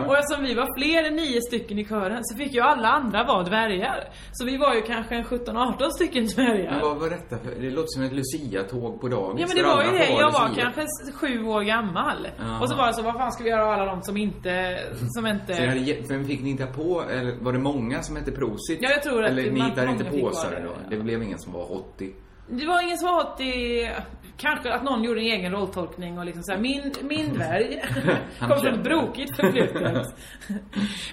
och eftersom vi var fler än nio stycken i kören så fick ju alla andra vara dvärgar. Så vi var ju kanske en 17-18 stycken dvärgar. Men vad var detta för? Det låter som ett Lucia-tåg på dagis. Ja men det där var ju alla det, får jag var Lucia. kanske s- sju år gammal. Ja. Och så var det så, vad fan ska vi göra av alla de som inte, som Så ni hade inte... ge- Vem fick ni hitta på? Eller var det många som hette Prosit? Ja, jag tror att Eller det- ni man- hittade inte många fick på vara sig det, då? Det blev ingen som var 80. Det var ingen som var att det... Kanske att någon gjorde en egen rolltolkning och liksom såhär, min, min dvärg Han kom från kände. ett brokigt förflutet.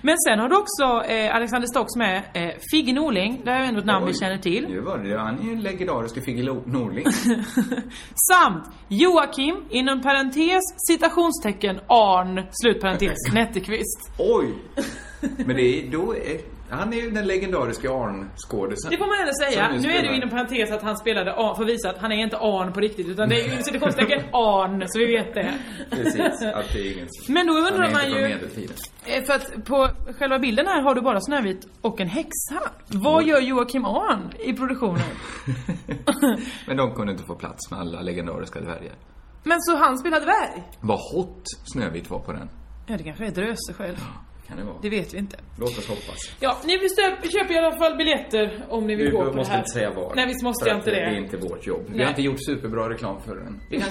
men sen har du också eh, Alexander Stocks med, eh, Figge Norling, det här är ju ändå ett namn vi Oj, känner till. Nu var det ju- Han är ju en legendarisk Figge Lo- Norling. Samt Joakim, inom parentes, citationstecken, Arn, slutparentes, Netteqvist. Oj! Men det är då... Är, han är ju den legendariska Arn-skådisen. Det får man ändå säga. Som Nu är det spelar. ju inom parentes att han spelade Arn, för att visa att han är inte Arn på riktigt, utan det är ju inom citationstecken Arn, så vi vet det. Precis, att det är ingen... Men då undrar han är man inte ju- Från medeltiden. Eh, För att på själva bilden här har du bara Snövit och en häxa. Vad gör Joakim Arn i produktionen? Men de kunde inte få plats med alla legendariska dvärgar. Men så han spelar dvärg? Vad hot Snövit var på den. Ja, det kanske är Dröse själv. Kan det vara. Det vet vi inte. Låt oss hoppas. Ja, ni vill stöp, köpa i alla fall biljetter om ni vill Vi gå på det måste här. inte säga vad. Nej, visst måste För jag att inte det. Det är inte vårt jobb. Vi Nej. har inte gjort superbra reklam för den. Vi kan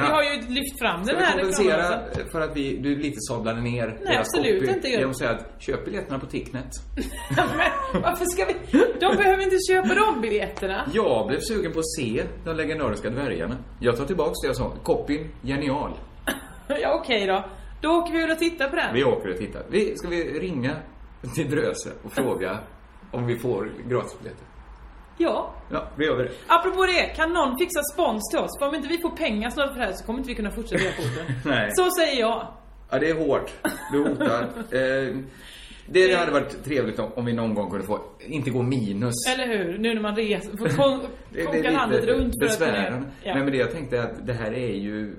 Vi har ju lyft fram Ska den vi här kompensera reklamen. för att vi, du lite sablade ner absolut copy inte. genom att säga att köp biljetterna på Ticknet. Men varför ska vi... De behöver inte köpa de biljetterna. Jag blev sugen på att se de legendariska dvärgarna. Jag tar tillbaks det jag sa. Copyn, genial. Ja, okej då. Då åker vi väl och tittar på den. Vi åker och tittar. Vi, ska vi ringa till Dröse och fråga om vi får gratisbiljetter? Ja. Ja, vi gör vi det. Apropå det, kan någon fixa spons till oss? För om inte vi får pengar snart för det här så kommer inte vi kunna fortsätta göra porten. Nej. Så säger jag. Ja, det är hårt. Du hotar. eh, det, det hade varit trevligt om, om vi någon gång kunde få, inte gå minus. Eller hur? Nu när man reser, får kon- Det, det konka är landet lite runt för att besvärande. Ja. Nej, men det jag tänkte är att det här är ju,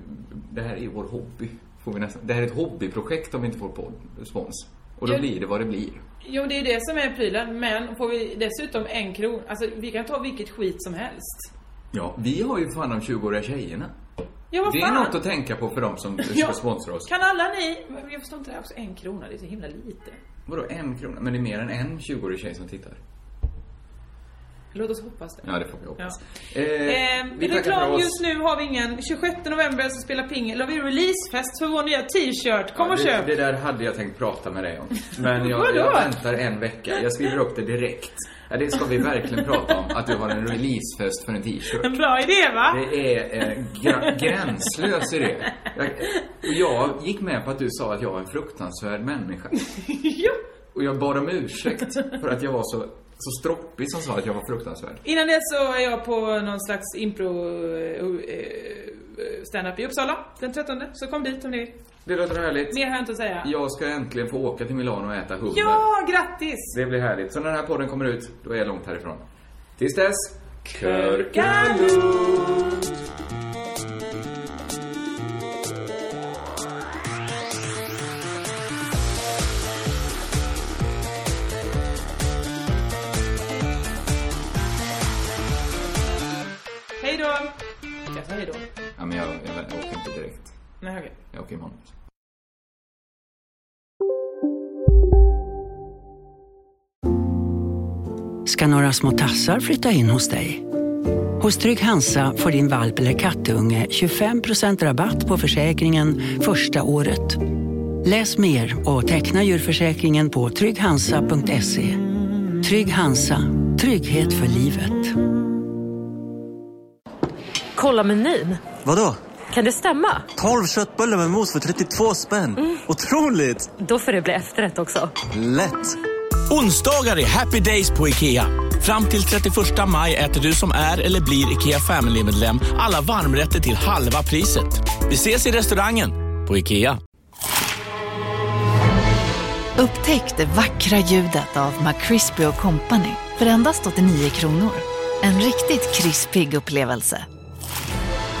det här är ju vår hobby. Får vi nästan. Det här är ett hobbyprojekt om vi inte får podd, spons. Och då Ja. blir det vad det blir. Jo, det är det som är prylen. Men får vi dessutom en kron, alltså vi kan ta vilket skit som helst. Ja, vi har ju fan de 20-åriga tjejerna. Ja, vad Det är fan? något att tänka på för de som Ja. ska sponsra oss. Kan alla ni... men Jag förstår inte det här också. En krona, det är så himla lite. Vadå en krona? Men det är mer än en 20-årig tjej som tittar. Låt oss hoppas det. Ja, det får vi hoppas. Ja. Eh, Eh, vi tackar för reklam oss. just nu har vi ingen. 26 november så spelar pingel. Då har vi releasefest för vår nya t-shirt. Kom och det, köp! Det där hade jag tänkt prata med dig om. Men jag, Vadå? jag väntar en vecka. Jag skriver upp det direkt. Ja, det ska vi verkligen prata om. Att du har en releasefest för en t-shirt. En bra idé va? Det är eh, gra- gränslös i det. Jag, och jag gick med på att du sa att jag var en fruktansvärd människa. ja. Och jag bad om ursäkt för att jag var så, så stroppig som sa att jag var fruktansvärd. Innan det så är jag på någon slags impro eh, eh, stand-up i Uppsala den 13. Så kom dit om ni vill. Det låter härligt. Mer har jag inte att säga. Jag ska äntligen få åka till Milano och äta hummer. Ja, grattis! Det blir härligt. Så när den här podden kommer ut, då är jag långt härifrån. Tills dess, Körkalut. Hej då! Ska jag säga hej då? Ja, men jag, jag, jag åker inte direkt. Nej, okej. Jag åker imorgon. ska några små tassar flytta in hos dig. Hos Trygg Hansa får din valp eller kattunge 25% rabatt på försäkringen första året. Läs mer och teckna djurförsäkringen på trygghansa.se. Trygg Hansa, trygghet för livet. Kolla menyn. Vadå? Kan det stämma? 12 köttbullar med mos för 32 spänn. Otroligt! Mm. Då får det bli efterrätt också. Lätt! Onsdagar är happy days på IKEA. Fram till 31 maj äter du som är eller blir IKEA Family-medlem alla varmrätter till halva priset. Vi ses i restaurangen på IKEA. Upptäck det vackra ljudet av McCrispy Company för endast 89 kronor. En riktigt krispig upplevelse.